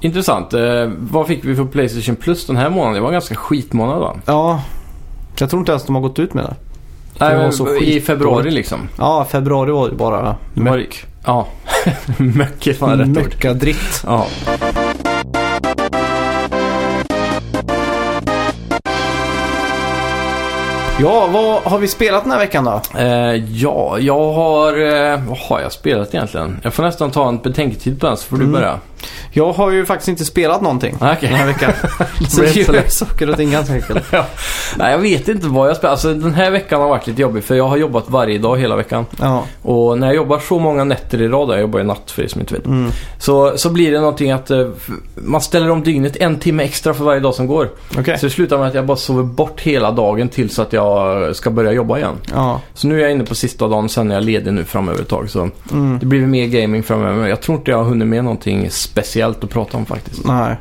Speaker 2: intressant. Eh, vad fick vi för Playstation Plus den här månaden? Det var en ganska skitmånad va?
Speaker 1: Ja. Jag tror inte ens de har gått ut med det.
Speaker 2: Nej,
Speaker 1: var
Speaker 2: men
Speaker 1: så
Speaker 2: Eh, I
Speaker 1: skitdåligt.
Speaker 2: februari liksom.
Speaker 1: Ja, februari var ju bara
Speaker 2: Det var- Ja, möck är fan rätt ord.
Speaker 1: Möckadritt.
Speaker 2: Ja.
Speaker 1: Ja, vad har vi spelat den här veckan då?
Speaker 2: Eh, ja, jag har... Eh, vad har jag spelat egentligen? Jag får nästan ta en betänketid på den så får du
Speaker 1: Mm.
Speaker 2: börja.
Speaker 1: Jag har ju faktiskt inte spelat någonting
Speaker 2: Ah, okej.
Speaker 1: den här veckan. så
Speaker 2: Blev
Speaker 1: det
Speaker 2: så
Speaker 1: gör
Speaker 2: lätt.
Speaker 1: saker och ting ganska enkelt.
Speaker 2: Nej, jag vet inte vad jag spelar. Alltså den här veckan har varit lite jobbig för jag har jobbat varje dag hela veckan.
Speaker 1: Ja.
Speaker 2: Och när jag jobbar så många nätter i rad, jag jobbar ju natt för er som inte vet.
Speaker 1: Mm.
Speaker 2: Så, så blir det någonting att eh, f- man ställer om dygnet en timme extra för varje dag som går.
Speaker 1: Okej.
Speaker 2: Så det slutar med att jag bara sover bort hela dagen tills att jag ska börja jobba igen.
Speaker 1: Ja.
Speaker 2: Så nu är jag inne på sista dagen, sen är jag ledig nu framöver ett tag. Så
Speaker 1: Mm.
Speaker 2: det blir väl mer gaming framöver. Jag tror inte jag har hunnit med någonting speciellt att prata om faktiskt.
Speaker 1: Nej.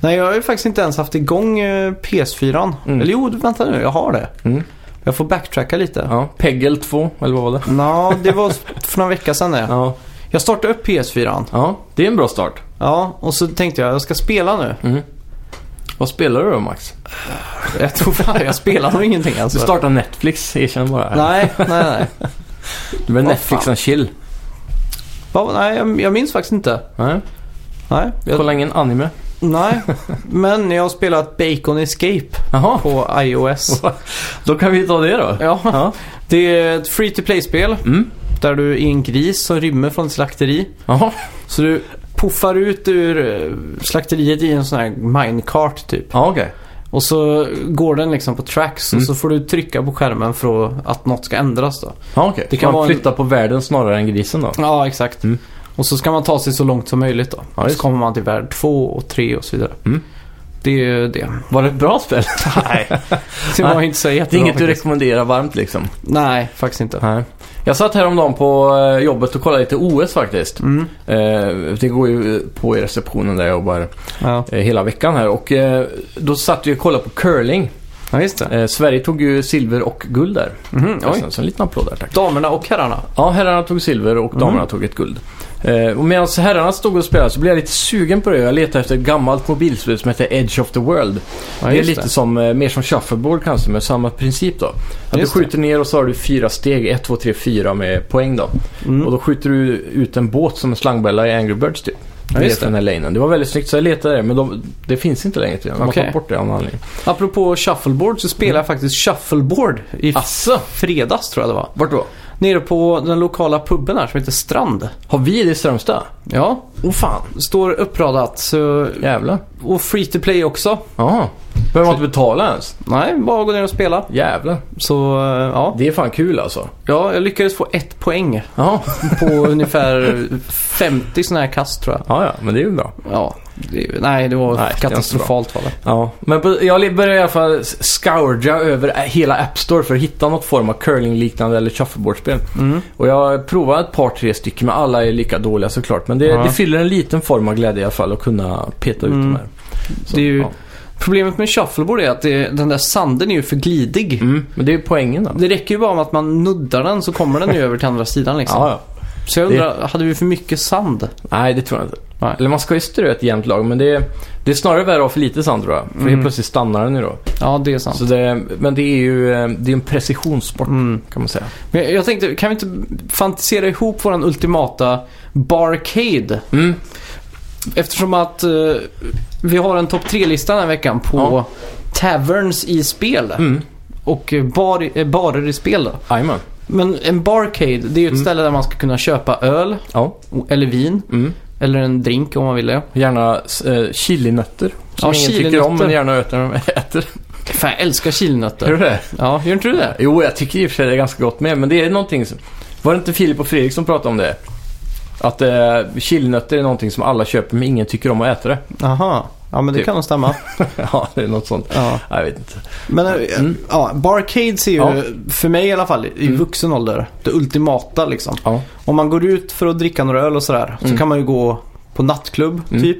Speaker 1: Nej, jag har ju faktiskt inte ens haft igång eh, PS4.
Speaker 2: Mm.
Speaker 1: Eller jo, vänta nu. Jag har det.
Speaker 2: Mm.
Speaker 1: Jag får backtracka lite.
Speaker 2: Ja, Peggle 2, eller vad var det?
Speaker 1: Nå, det var för några vecka sedan det.
Speaker 2: Ja,
Speaker 1: Jag startade upp PS4.
Speaker 2: ja det är en bra start.
Speaker 1: Ja, och så tänkte jag jag ska spela nu.
Speaker 2: Mm. Vad spelar du då Max?
Speaker 1: Jag tror fan jag spelar nog ingenting
Speaker 2: Du
Speaker 1: alltså.
Speaker 2: startar Netflix, erkänn bara.
Speaker 1: Nej, nej, nej.
Speaker 2: Du är
Speaker 1: Vad
Speaker 2: Netflix
Speaker 1: fan.
Speaker 2: and chill.
Speaker 1: Va, nej jag, jag minns faktiskt inte.
Speaker 2: Nej,
Speaker 1: Nej, jag,
Speaker 2: kolla ingen anime.
Speaker 1: nej. Men jag har spelat Bacon Escape
Speaker 2: Jaha,
Speaker 1: på iOS.
Speaker 2: då kan vi ta det då.
Speaker 1: Ja, det är ett free to play-spel.
Speaker 2: Mm.
Speaker 1: Där du är en gris som rymmer från ett slakteri.
Speaker 2: Jaha.
Speaker 1: Så du puffar ut ur eh, slakteriet i en sån här minecart typ.
Speaker 2: Ja, okej.
Speaker 1: Och så går den liksom på tracks
Speaker 2: Mm.
Speaker 1: och så får du trycka på skärmen för att något ska ändras då.
Speaker 2: Ja, okej.
Speaker 1: Det
Speaker 2: Så
Speaker 1: kan
Speaker 2: man
Speaker 1: vara en-
Speaker 2: flyttar på världen snarare än grisen då?
Speaker 1: Ja, exakt.
Speaker 2: Mm.
Speaker 1: Och så ska man ta sig så långt som möjligt då.
Speaker 2: Ja, just
Speaker 1: så kommer man till värld två och tre och så vidare.
Speaker 2: Mm.
Speaker 1: Det är ju det.
Speaker 2: Var det ett bra spel?
Speaker 1: Nej. Det var inte så
Speaker 2: Det
Speaker 1: jättebra
Speaker 2: är inget du
Speaker 1: faktiskt.
Speaker 2: rekommenderar varmt liksom?
Speaker 1: Nej, faktiskt inte.
Speaker 2: Nej. Jag satt häromdagen på eh, jobbet och kollade lite OS faktiskt.
Speaker 1: Mm.
Speaker 2: Eh, Det går ju eh, på i receptionen där jag jobbar
Speaker 1: Ja.
Speaker 2: eh, hela veckan här. Och eh, då satt vi och kollade på curling.
Speaker 1: ja, just det.
Speaker 2: Eh, Sverige tog ju silver och guld där. Alltså,
Speaker 1: Mhm, oj.
Speaker 2: Så en liten applåd där tack.
Speaker 1: Damerna och herrarna.
Speaker 2: Ja, herrarna tog silver och damerna
Speaker 1: Mm.
Speaker 2: tog ett guld. Eh, och medan herrarna stod och spelade så blev jag lite sugen på det. Jag letade efter ett gammalt mobilspel som heter Edge of the World.
Speaker 1: Ja,
Speaker 2: det är
Speaker 1: just
Speaker 2: lite som, eh, mer som shuffleboard kanske, med samma princip då. Att du
Speaker 1: Just
Speaker 2: skjuter ner och så har du fyra steg, 1, 2, 3, 4 med poäng då.
Speaker 1: Mm.
Speaker 2: Och då skjuter du ut en båt som en slangbella i Angry Birds typ.
Speaker 1: Ja,
Speaker 2: ner
Speaker 1: just
Speaker 2: från den här lanen. Det var väldigt snyggt så jag letade där men de, det finns inte längre till. De har
Speaker 1: Okej.
Speaker 2: tagit bort det av någon anledning.
Speaker 1: Apropå shuffleboard så spelade
Speaker 2: Mm.
Speaker 1: jag faktiskt shuffleboard i
Speaker 2: Asså?
Speaker 1: fredags tror jag det var.
Speaker 2: Vart då?
Speaker 1: Nere på den lokala puben här som heter Strand.
Speaker 2: Har vi det i Strömstad?
Speaker 1: Ja,
Speaker 2: Åh fan,
Speaker 1: står uppradat. Så...
Speaker 2: jävlar.
Speaker 1: Och free to play också.
Speaker 2: Ja. Behöver man inte betala ens?
Speaker 1: Nej, bara gå ner och spela.
Speaker 2: Jävlar.
Speaker 1: Så eh, ja.
Speaker 2: Det är fan kul alltså.
Speaker 1: ja, jag lyckades få ett poäng
Speaker 2: Ja,
Speaker 1: på ungefär 50 sådana här kast tror jag.
Speaker 2: ja, ja men det är ju bra.
Speaker 1: Ja, det, nej det var
Speaker 2: Nej, det är inte
Speaker 1: katastrofalt var det.
Speaker 2: Ja. Men på, jag började i alla fall scourga över hela App Store för att hitta något form av curling-liknande eller shuffleboardspel.
Speaker 1: Mm.
Speaker 2: Och jag provade ett par, tre stycken, men alla är lika dåliga såklart. Men det,
Speaker 1: Ja.
Speaker 2: det fyller en liten form av glädje i alla fall att kunna peta ut
Speaker 1: Mm.
Speaker 2: de här. Så,
Speaker 1: Det är ju-
Speaker 2: ja.
Speaker 1: Problemet med shuffleboard är att det, den där sanden är ju för glidig.
Speaker 2: mm. Men det är ju poängen då.
Speaker 1: Det räcker ju bara med att man nuddar den så kommer den ju över till andra sidan liksom.
Speaker 2: Ja, ja.
Speaker 1: Så jag undrar, hade vi för mycket sand?
Speaker 2: Nej, det tror jag inte.
Speaker 1: Nej.
Speaker 2: Eller man ska ju strö ett jämnt lag, men det är, det är snarare värre att ha för lite sand tror jag. För helt plötsligt stannar den ju då.
Speaker 1: Ja, det är sant.
Speaker 2: Så det, men det är ju eh, det är en precisionssport
Speaker 1: Mm.
Speaker 2: kan man säga.
Speaker 1: Men jag- jag tänkte, kan vi inte fantisera ihop våran ultimata barcade?
Speaker 2: Mm.
Speaker 1: Eftersom att eh, vi har en topp 3-lista den här veckan på
Speaker 2: Ja.
Speaker 1: taverns i spel.
Speaker 2: Mm.
Speaker 1: Och eh, bar, eh, barer i spel då.
Speaker 2: Jajamän.
Speaker 1: Men en barcade, det är ju ett ställe där man ska kunna köpa öl
Speaker 2: Ja.
Speaker 1: o- eller vin.
Speaker 2: Mm.
Speaker 1: Eller en drink om man vill det.
Speaker 2: Gärna eh, chilinötter. Som
Speaker 1: Ja,
Speaker 2: ingen tycker
Speaker 1: chilinötter.
Speaker 2: om men gärna äter när de äter.
Speaker 1: Fan, jag älskar
Speaker 2: Gör
Speaker 1: chilinötter.
Speaker 2: du det?
Speaker 1: Ja, gör inte du det?
Speaker 2: Jo, jag tycker i och för sig det är ganska gott med. Men det är någonting som... Var det inte Filip och Fredrik som pratade om det? Att eh, chilinötter är någonting som alla köper men ingen tycker om att äta det.
Speaker 1: Aha. Ja, men det
Speaker 2: Typ.
Speaker 1: kan nog stämma.
Speaker 2: ja, det är något sånt.
Speaker 1: Ja.
Speaker 2: Nej, Jag vet inte.
Speaker 1: Men eh,
Speaker 2: Mm.
Speaker 1: ja, barcades är ju,
Speaker 2: Ja.
Speaker 1: för mig i alla fall, i vuxen ålder, det ultimata liksom.
Speaker 2: Ja.
Speaker 1: Om man går ut för att dricka några öl och sådär så
Speaker 2: Mm.
Speaker 1: kan man ju gå på nattklubb
Speaker 2: Mm.
Speaker 1: typ.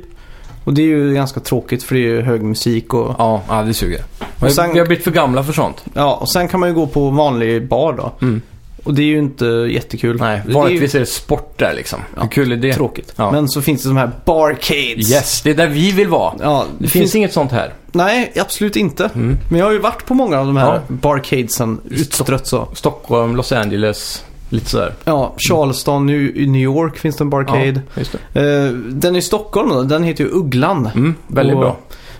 Speaker 1: Och det är ju ganska tråkigt för det är ju hög musik och
Speaker 2: Ja, ja, det suger.
Speaker 1: Och sen-
Speaker 2: Vi har blivit för gamla för sånt.
Speaker 1: ja. Och sen kan man ju gå på vanlig bar då.
Speaker 2: Mm.
Speaker 1: Och det är ju inte jättekul.
Speaker 2: Nej,
Speaker 1: det är ju
Speaker 2: vanligtvis är det sport där liksom.
Speaker 1: Ja,
Speaker 2: Hur kul är det?
Speaker 1: tråkigt.
Speaker 2: Ja.
Speaker 1: Men så finns det de här barcades.
Speaker 2: Yes, det är där vi vill vara.
Speaker 1: Ja,
Speaker 2: Det finns inget sånt här.
Speaker 1: Nej, absolut inte.
Speaker 2: Mm.
Speaker 1: Men jag har ju varit på många av de här
Speaker 2: Ja.
Speaker 1: barcadesen utstrött så.
Speaker 2: Stockholm, Los Angeles, lite sådär.
Speaker 1: Ja, Charleston nu i New York finns det en barcade.
Speaker 2: Ja, just det.
Speaker 1: Eh, den i Stockholm då, den heter ju Ugglan.
Speaker 2: Mm, väldigt
Speaker 1: Och
Speaker 2: bra.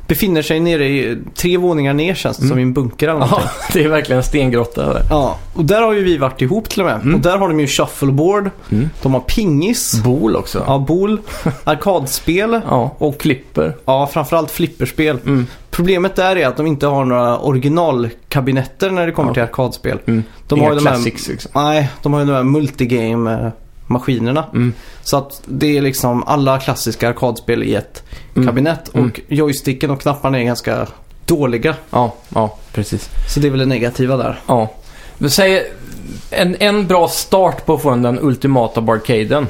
Speaker 1: Befinner sig nere i tre våningar ner känns det som i en bunker eller någonting.
Speaker 2: Mm. Ja, det är verkligen en stengrotta där.
Speaker 1: Ja, och där har ju vi varit ihop till och med. Och där har de ju shuffleboard,
Speaker 2: Mm.
Speaker 1: de har pingis,
Speaker 2: Bol också.
Speaker 1: ja, boule, arkadspel
Speaker 2: Ja, och klipper.
Speaker 1: ja, framförallt flipperspel.
Speaker 2: Mm.
Speaker 1: Problemet där är att de inte har några originalkabinetter när det kommer
Speaker 2: Ja.
Speaker 1: till arkadspel.
Speaker 2: Mm.
Speaker 1: De
Speaker 2: Inga
Speaker 1: har ju de här-
Speaker 2: classics liksom.
Speaker 1: Nej, de har ju de här multigame-maskinerna.
Speaker 2: Mm.
Speaker 1: Så att det är liksom alla klassiska arkadspel i ett
Speaker 2: Mm.
Speaker 1: kabinett. Och
Speaker 2: Mm.
Speaker 1: joysticken och knapparna är ganska dåliga.
Speaker 2: Ja, ja, precis.
Speaker 1: Så det är väl det negativa där.
Speaker 2: Ja. Men säg, en, en bra start på att få den ultimata barcaden.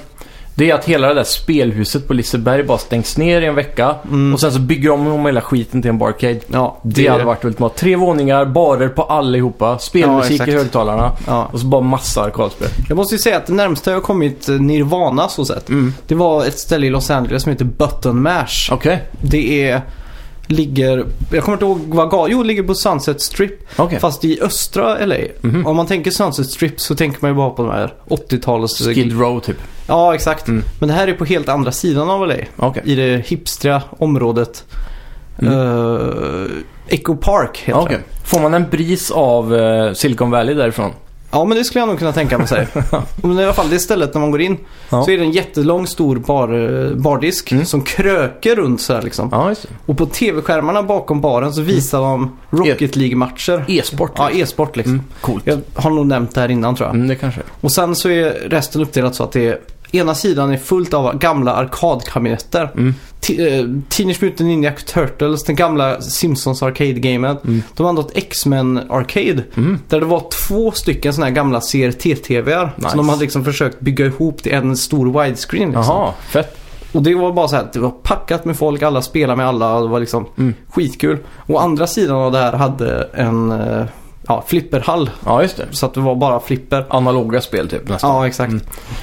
Speaker 2: Det är att hela det där spelhuset på Liseberg bara stängs ner i en vecka.
Speaker 1: Mm.
Speaker 2: Och sen så bygger de om hela skiten till en barcade.
Speaker 1: Ja,
Speaker 2: Det, hade varit ultimat. Tre våningar, barer på allihopa,
Speaker 1: Ja,
Speaker 2: spelmusik
Speaker 1: exakt.
Speaker 2: i högtalarna
Speaker 1: Ja.
Speaker 2: och så bara massa arkadspel.
Speaker 1: Jag måste ju säga att det närmsta jag har kommit eh, Nirvana så sett.
Speaker 2: Mm.
Speaker 1: Det var ett ställe i Los Angeles som heter Button Mash.
Speaker 2: Okej.
Speaker 1: Det är, ligger, jag kommer inte ihåg vad ga- Jo, det ligger på Sunset Strip.
Speaker 2: Okej.
Speaker 1: Fast i östra LA.
Speaker 2: Mhm.
Speaker 1: Om man tänker Sunset Strip så tänker man ju bara på de här 80-tals...
Speaker 2: Skid Row typ.
Speaker 1: Ja, exakt.
Speaker 2: Mm.
Speaker 1: Men det här är på helt andra sidan av LA.
Speaker 2: Okej.
Speaker 1: I det hipstra området.
Speaker 2: Mm.
Speaker 1: Eh, Echo Park heter
Speaker 2: Okej. Får man en bris av eh, Silicon Valley därifrån?
Speaker 1: Ja, men det skulle jag nog kunna tänka mig sig. men i alla fall det stället när man går in
Speaker 2: Ja.
Speaker 1: så är det en jättelång stor bar, eh, bardisk
Speaker 2: Mm.
Speaker 1: som kröker runt så här liksom.
Speaker 2: Ja, just
Speaker 1: Och på tv-skärmarna bakom baren så visar de Rocket League-matcher.
Speaker 2: det. E-sport.
Speaker 1: Ja, e-sport liksom.
Speaker 2: E- Mm, coolt.
Speaker 1: Jag har nog nämnt det här innan tror jag.
Speaker 2: Mm, det kanske är.
Speaker 1: Och sen så är resten uppdelat så att det är Ena sidan är fullt av gamla arkadkabinetter.
Speaker 2: Mm.
Speaker 1: Ti- eh, Teenage Mutant Ninja Turtles, den gamla Simpsons Arcade-gamet.
Speaker 2: Mm.
Speaker 1: De andra ett X-Men Arcade.
Speaker 2: Mm.
Speaker 1: Där det var två stycken sådana här gamla CRT-TVR.
Speaker 2: Nice.
Speaker 1: Som de hade liksom försökt bygga ihop till en stor widescreen. Liksom.
Speaker 2: Jaha, fett.
Speaker 1: Och det var bara så här, att det var packat med folk, alla spelade med alla och det var liksom
Speaker 2: Mm.
Speaker 1: skitkul. Å andra sidan av det här hade en eh, ja, flipperhall.
Speaker 2: Ja, just det.
Speaker 1: Så att det var bara flipper.
Speaker 2: Analoga spel typ nästan.
Speaker 1: Ja, exakt.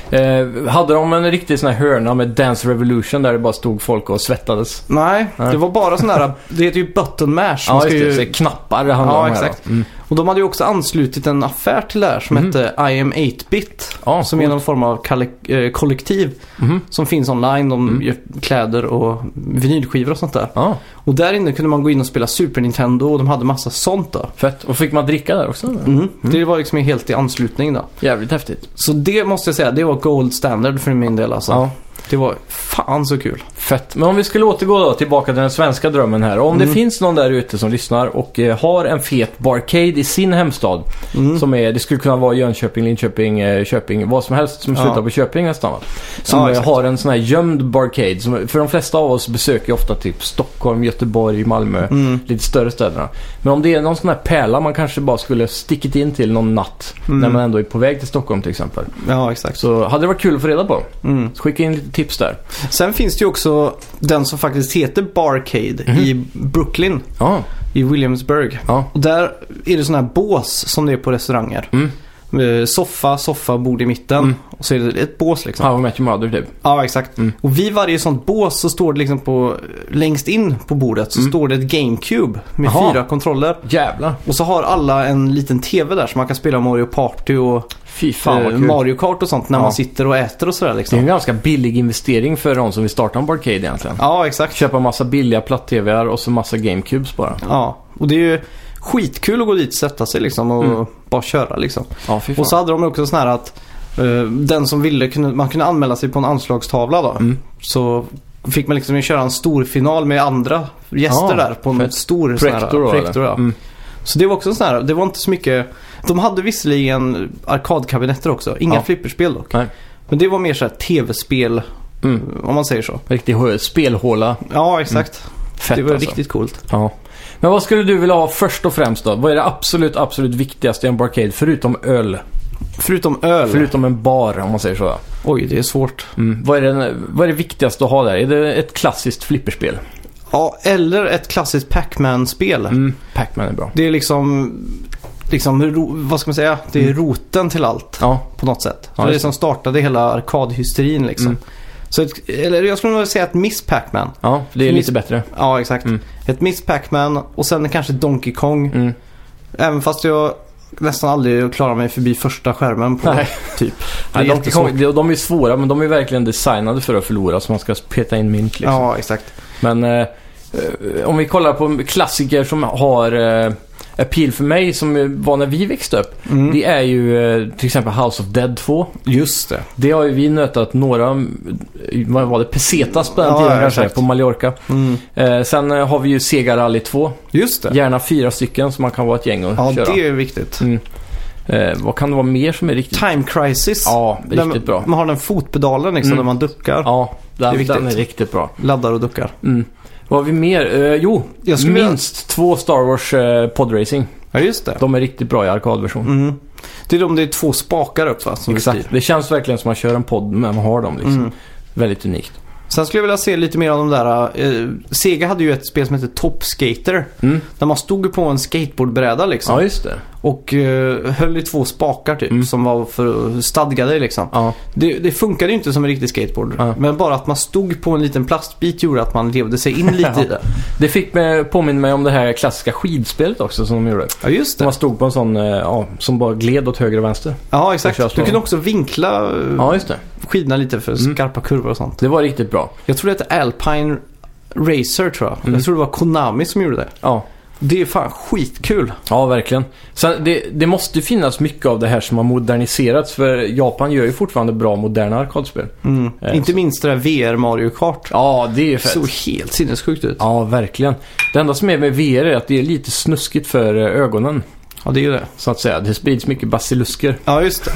Speaker 2: Eh, hade de en riktig sån här hörna med Dance Revolution där det bara stod folk och svettades?
Speaker 1: Nej,
Speaker 2: Nej.
Speaker 1: det var bara sån där, det heter ju button mash. Man
Speaker 2: Ja,
Speaker 1: ska
Speaker 2: just det.
Speaker 1: ju-
Speaker 2: Så knappar det handlar
Speaker 1: Ja,
Speaker 2: om här,
Speaker 1: exakt.
Speaker 2: då. Mm.
Speaker 1: Och de hade ju också anslutit en affär till det här som hette I am 8-bit.
Speaker 2: Ja,
Speaker 1: Som är någon form av kalle- eh, kollektiv
Speaker 2: Mhm.
Speaker 1: som finns online. De
Speaker 2: Mm.
Speaker 1: gör kläder och vinylskivor och sånt där.
Speaker 2: Ja,
Speaker 1: Och där inne kunde man gå in och spela Super Nintendo och de hade massa sånt då.
Speaker 2: fett. Och fick man dricka där också? eller?
Speaker 1: Mm. Det var liksom helt i anslutning då.
Speaker 2: Jävligt häftigt.
Speaker 1: Så det måste jag säga, det var gold standard för min del alltså.
Speaker 2: Ja.
Speaker 1: Det var fan så kul.
Speaker 2: Fett. Men om vi skulle återgå då tillbaka till den svenska drömmen här. Om
Speaker 1: Mm.
Speaker 2: det finns någon där ute som lyssnar och eh, har en fet barcade i sin hemstad.
Speaker 1: Mm.
Speaker 2: Som är, det skulle kunna vara Jönköping, Linköping, eh, Köping, vad som helst som
Speaker 1: Ja.
Speaker 2: slutar på Köping nästan va? Som
Speaker 1: Ja,
Speaker 2: eh,
Speaker 1: exakt.
Speaker 2: har en sån här gömd barcade. Som, för de flesta av oss besöker ju ofta typ Stockholm, Göteborg, Malmö.
Speaker 1: Mm.
Speaker 2: Lite större städerna. Men om det är någon sån här pärla man kanske bara skulle stickit in till någon natt.
Speaker 1: Mm.
Speaker 2: När man ändå är på väg till Stockholm till exempel.
Speaker 1: Ja, exakt.
Speaker 2: Så hade det varit kul att få reda på.
Speaker 1: Mm.
Speaker 2: Så Skicka in lite tips där.
Speaker 1: Sen finns det ju också den som faktiskt heter Barcade i Brooklyn,
Speaker 2: Ja,
Speaker 1: i Williamsburg.
Speaker 2: ja.
Speaker 1: Och där är det sådana här bås som det är på restauranger.
Speaker 2: Mm.
Speaker 1: Eh, Soffa, soffa, bord i mitten.
Speaker 2: Mm.
Speaker 1: Och så är det ett bås liksom.
Speaker 2: How I Met Your Mother typ.
Speaker 1: Ja, exakt.
Speaker 2: Mm.
Speaker 1: Och vid varje sånt bås så står det liksom på, längst in på bordet så
Speaker 2: Mm.
Speaker 1: står det ett GameCube med
Speaker 2: Jaha.
Speaker 1: fyra kontroller.
Speaker 2: Jävlar.
Speaker 1: Och så har alla en liten TV där så man kan spela Mario Party och
Speaker 2: Fy fan vad
Speaker 1: eh,
Speaker 2: kul.
Speaker 1: Mario Kart och sånt när
Speaker 2: Ja. Mm.
Speaker 1: man sitter och äter och sådär
Speaker 2: Det är
Speaker 1: liksom.
Speaker 2: en ganska billig investering för de som vill starta en barcade egentligen.
Speaker 1: Ja, exakt.
Speaker 2: Köpa massa billiga platt-TVar och så massa GameCubes bara.
Speaker 1: Ja, och det är ju skitkul att gå dit, sätta sig liksom och
Speaker 2: Mm.
Speaker 1: bara köra liksom.
Speaker 2: Ja, fy fan.
Speaker 1: Och så hade de också sån här att eh, den som ville kunde, man kunde anmäla sig på en anslagstavla då.
Speaker 2: Mm.
Speaker 1: Så fick man liksom köra en stor final med andra gäster
Speaker 2: Ja,
Speaker 1: där på en
Speaker 2: fett.
Speaker 1: stor sån här,
Speaker 2: Projektor då,
Speaker 1: projektor
Speaker 2: eller?
Speaker 1: ja.
Speaker 2: Mm.
Speaker 1: Så det var också en sån här, det var inte så mycket. De hade visserligen arkadkabinetter också, inga
Speaker 2: Ja.
Speaker 1: flipperspel dock.
Speaker 2: Nej.
Speaker 1: Men det var mer så här tv-spel
Speaker 2: Mm.
Speaker 1: om man säger så. Mm.
Speaker 2: Riktig hö- spelhåla.
Speaker 1: Ja exakt,
Speaker 2: Fett
Speaker 1: det var
Speaker 2: alltså.
Speaker 1: riktigt coolt.
Speaker 2: Ja. Men vad skulle du vilja ha först och främst då? Vad är det absolut, absolut viktigaste i en barcade? Förutom öl.
Speaker 1: Förutom öl.
Speaker 2: Förutom en bar om man säger så.
Speaker 1: Oj, det är svårt.
Speaker 2: Mm. Vad, är det, vad är det viktigaste att ha där? Är det ett klassiskt flipperspel?
Speaker 1: Ja, eller ett klassiskt Pac-Man-spel.
Speaker 2: Mm. Pac-Man är bra.
Speaker 1: Det är liksom, liksom, ro- vad ska man säga? Det är roten till allt
Speaker 2: Ja,
Speaker 1: på något sätt.
Speaker 2: Ja,
Speaker 1: det är Mm. det
Speaker 2: just
Speaker 1: som startade hela arkadhysterin liksom.
Speaker 2: Mm.
Speaker 1: Så ett, eller jag skulle nog säga ett Miss Pac-Man.
Speaker 2: ja det är
Speaker 1: Finns-
Speaker 2: lite bättre.
Speaker 1: Ja, exakt.
Speaker 2: Mm.
Speaker 1: Ett Miss Pac-Man och sen kanske Donkey Kong.
Speaker 2: Mm.
Speaker 1: Även fast jag nästan aldrig klarar mig förbi första skärmen på
Speaker 2: Nej.
Speaker 1: typ. Det är
Speaker 2: Nej, Donkey
Speaker 1: jättesvårt.
Speaker 2: Kong, de, de är svåra men de är verkligen designade för att förlora så man ska peta in mynt liksom.
Speaker 1: Ja, exakt.
Speaker 2: Men eh, eh, om vi kollar på klassiker som har eh, appeal för mig som eh, var när vi växte upp.
Speaker 1: Mm.
Speaker 2: Det är ju eh, till exempel House of Dead 2.
Speaker 1: Just det.
Speaker 2: Det har ju vi nötat några, eh, vad var det, pesetas på den
Speaker 1: Ja,
Speaker 2: tiden
Speaker 1: ja,
Speaker 2: kanske,
Speaker 1: exakt.
Speaker 2: på Mallorca.
Speaker 1: Mm.
Speaker 2: Eh, sen eh, har vi ju Sega Rally 2.
Speaker 1: Just det.
Speaker 2: Gärna fyra stycken så man kan vara ett gäng och
Speaker 1: Ja,
Speaker 2: köra.
Speaker 1: det är viktigt.
Speaker 2: Mm. Eh, vad kan det vara mer som är riktigt...
Speaker 1: Time Crisis.
Speaker 2: Ja,
Speaker 1: Där
Speaker 2: riktigt bra.
Speaker 1: Man har den fotpedalen liksom,
Speaker 2: Mm.
Speaker 1: där man duckar.
Speaker 2: Ja,
Speaker 1: Det är
Speaker 2: den,
Speaker 1: viktigt.
Speaker 2: den är riktigt bra.
Speaker 1: Laddar och duckar.
Speaker 2: Mm. Vad har vi mer? Eh, jo,
Speaker 1: Jag skulle vilja-
Speaker 2: minst två Star Wars eh, podracing.
Speaker 1: Ja, just det.
Speaker 2: De är riktigt bra i arkadversion.
Speaker 1: Mm. Det är de det är två spakar upp va? Som du styr.
Speaker 2: Det känns verkligen som man kör en podd men man har dem liksom.
Speaker 1: Mm.
Speaker 2: Väldigt unikt.
Speaker 1: Sen skulle jag vilja se lite mer av de där. Eh, Sega hade ju ett spel som hette Top Skater.
Speaker 2: Mm.
Speaker 1: Där man stod på en skateboardbräda liksom.
Speaker 2: Ja, just det.
Speaker 1: Och eh, höll i två spakar typ.
Speaker 2: Mm.
Speaker 1: Som var för stadgade liksom.
Speaker 2: Ja.
Speaker 1: Det, det funkade ju inte som en riktig skateboard.
Speaker 2: Ja.
Speaker 1: Men bara att man stod på en liten plastbit gjorde att man levde sig in lite i det.
Speaker 2: Det fick mig, påminna mig om det här klassiska skidspelet också som de gjorde.
Speaker 1: Ja just
Speaker 2: Som
Speaker 1: det.
Speaker 2: man stod på en sån, eh, ja, som bara gled åt höger och vänster.
Speaker 1: Ja
Speaker 2: Jag
Speaker 1: exakt.
Speaker 2: kör så.
Speaker 1: Du kunde också vinkla eh,
Speaker 2: Ja, just det.
Speaker 1: skidorna lite för
Speaker 2: Mm.
Speaker 1: skarpa kurvor och sånt.
Speaker 2: Det var riktigt bra.
Speaker 1: Jag tror det hette Alpine Racer tror jag.
Speaker 2: Mm.
Speaker 1: Jag tror det var Konami som gjorde det.
Speaker 2: Ja.
Speaker 1: Det är fan skitkul.
Speaker 2: Ja, verkligen. Sen, det, det måste ju finnas mycket av det här som har moderniserats för Japan gör ju fortfarande bra moderna arkadspel.
Speaker 1: Mm.
Speaker 2: Eh,
Speaker 1: Inte minst det där VR Mario Kart.
Speaker 2: Ja, det är fett.
Speaker 1: Såg helt sinnessjukt ut.
Speaker 2: Ja, verkligen. Det enda som är med VR är att det är lite snuskigt för eh, ögonen,
Speaker 1: Ja, det är ju det.
Speaker 2: så att säga. Det sprids mycket basilusker.
Speaker 1: Ja, just det.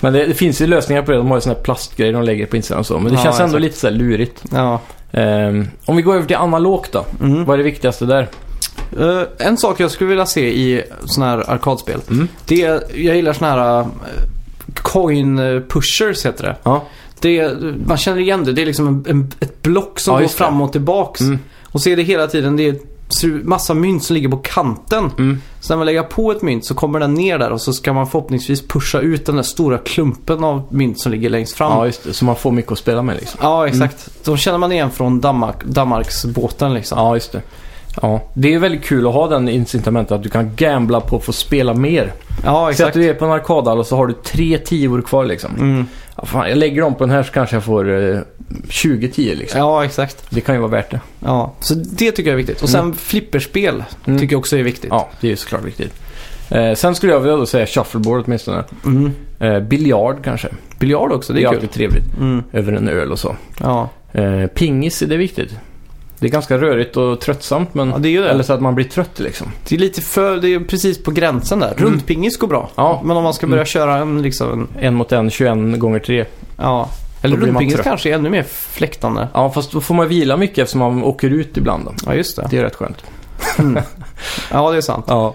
Speaker 2: Men det, det finns ju lösningar på det. De har ju såna här plastgrejer de lägger på insidan och så. Men det
Speaker 1: Ja,
Speaker 2: känns ändå
Speaker 1: exakt.
Speaker 2: lite så här lurigt.
Speaker 1: Ja.
Speaker 2: Ehm, om vi går över till analogt då.
Speaker 1: Mm.
Speaker 2: Vad är det viktigaste där?
Speaker 1: Eh, en sak jag skulle vilja se i sådana här arkadspel.
Speaker 2: Mm.
Speaker 1: Det är, jag gillar sådana här eh, coin pushers heter det.
Speaker 2: Ja.
Speaker 1: det är, man känner igen det. Det är liksom en, en, ett block som
Speaker 2: Ja,
Speaker 1: går
Speaker 2: just det.
Speaker 1: fram och tillbaks.
Speaker 2: Mm.
Speaker 1: Och så är det hela tiden, det är ser- massa mynt som ligger på kanten.
Speaker 2: Mm.
Speaker 1: Så när man lägger på ett mynt så kommer den ner där och så ska man förhoppningsvis pusha ut den där stora klumpen av mynt som ligger längst fram.
Speaker 2: ja,
Speaker 1: Ja,
Speaker 2: just det. Så man får mycket att spela med liksom.
Speaker 1: exakt. De känner man igen från Danmark, Danmarksbåten liksom.
Speaker 2: Ja, just det. Ja. Det är väldigt kul att ha den incitamentet att du kan gambla på att få spela mer.
Speaker 1: Ja,
Speaker 2: Säg att
Speaker 1: exakt.
Speaker 2: du är på en arkadhall och så har du tre tior kvar liksom.
Speaker 1: Mm.
Speaker 2: Ja, fan, jag lägger dem på den här så kanske jag får eh, 20 tior liksom.
Speaker 1: Ja, exakt.
Speaker 2: Det kan ju vara värt det.
Speaker 1: Ja, så det tycker jag är viktigt. Och sen flipperspel
Speaker 2: Mm.
Speaker 1: tycker jag också är viktigt.
Speaker 2: Ja, det är ju såklart viktigt. Eh, sen skulle jag vilja då säga shuffleboard åtminstone.
Speaker 1: Mm.
Speaker 2: Eh, biljard kanske.
Speaker 1: Biljard också, det
Speaker 2: Det är
Speaker 1: är kul.
Speaker 2: alltid trevligt.
Speaker 1: Mm.
Speaker 2: Över en öl och så.
Speaker 1: Ja.
Speaker 2: Eh, pingis, är det viktigt? Det är ganska rörigt och tröttsamt men...
Speaker 1: Mm. ja, det är ju det.
Speaker 2: Eller så att man blir trött liksom.
Speaker 1: Det är lite för, det är precis på gränsen där. Rundpingis går bra.
Speaker 2: Ja.
Speaker 1: Men om man ska börja köra en liksom, en-
Speaker 2: En mot en, 21 gånger tre.
Speaker 1: ja. Eller
Speaker 2: Då blir man
Speaker 1: rundpingis
Speaker 2: trött.
Speaker 1: kanske är ännu mer fläktande.
Speaker 2: Ja, fast då får man vila mycket eftersom man åker ut ibland då.
Speaker 1: Ja, just det.
Speaker 2: Det är rätt skönt.
Speaker 1: Ja, det är sant.
Speaker 2: Ja.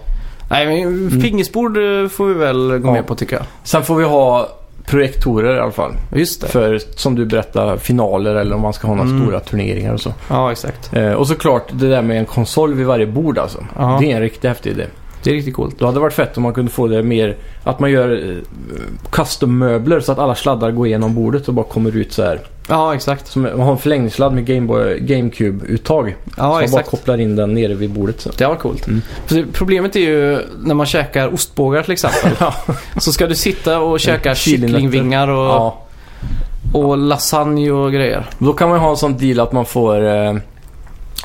Speaker 1: Nej, men pingisbord eh, får vi väl gå
Speaker 2: Ja.
Speaker 1: med på tycker jag.
Speaker 2: Sen får vi ha projektorer i alla fall.
Speaker 1: Just det. Mm.
Speaker 2: För som du berättar, finaler eller om man ska ha några stora turneringar och så.
Speaker 1: Ja, exakt.
Speaker 2: Eh, och såklart det där med en konsol vid varje bord alltså.
Speaker 1: Ja.
Speaker 2: Det är en riktigt häftig idé.
Speaker 1: Det är riktigt coolt.
Speaker 2: Då hade det varit fett om man kunde få det mer att man gör eh, custom-möbler så att alla sladdar går igenom bordet och bara kommer ut så här.
Speaker 1: Ja, exakt.
Speaker 2: Som man har en förlängningssladd med Gameboy- GameCube-uttag. så
Speaker 1: Ja,
Speaker 2: man bara
Speaker 1: exakt.
Speaker 2: kopplar in den nere vid bordet så.
Speaker 1: Det var coolt.
Speaker 2: Mm.
Speaker 1: För Problemet är ju när man käkar ostbågar till exempel.
Speaker 2: Ja.
Speaker 1: Så ska du sitta och käka
Speaker 2: chilinötter.
Speaker 1: kycklingvingar och,
Speaker 2: Ja.
Speaker 1: och lasagne och grejer.
Speaker 2: Då kan man ha en sån deal att man får, eh,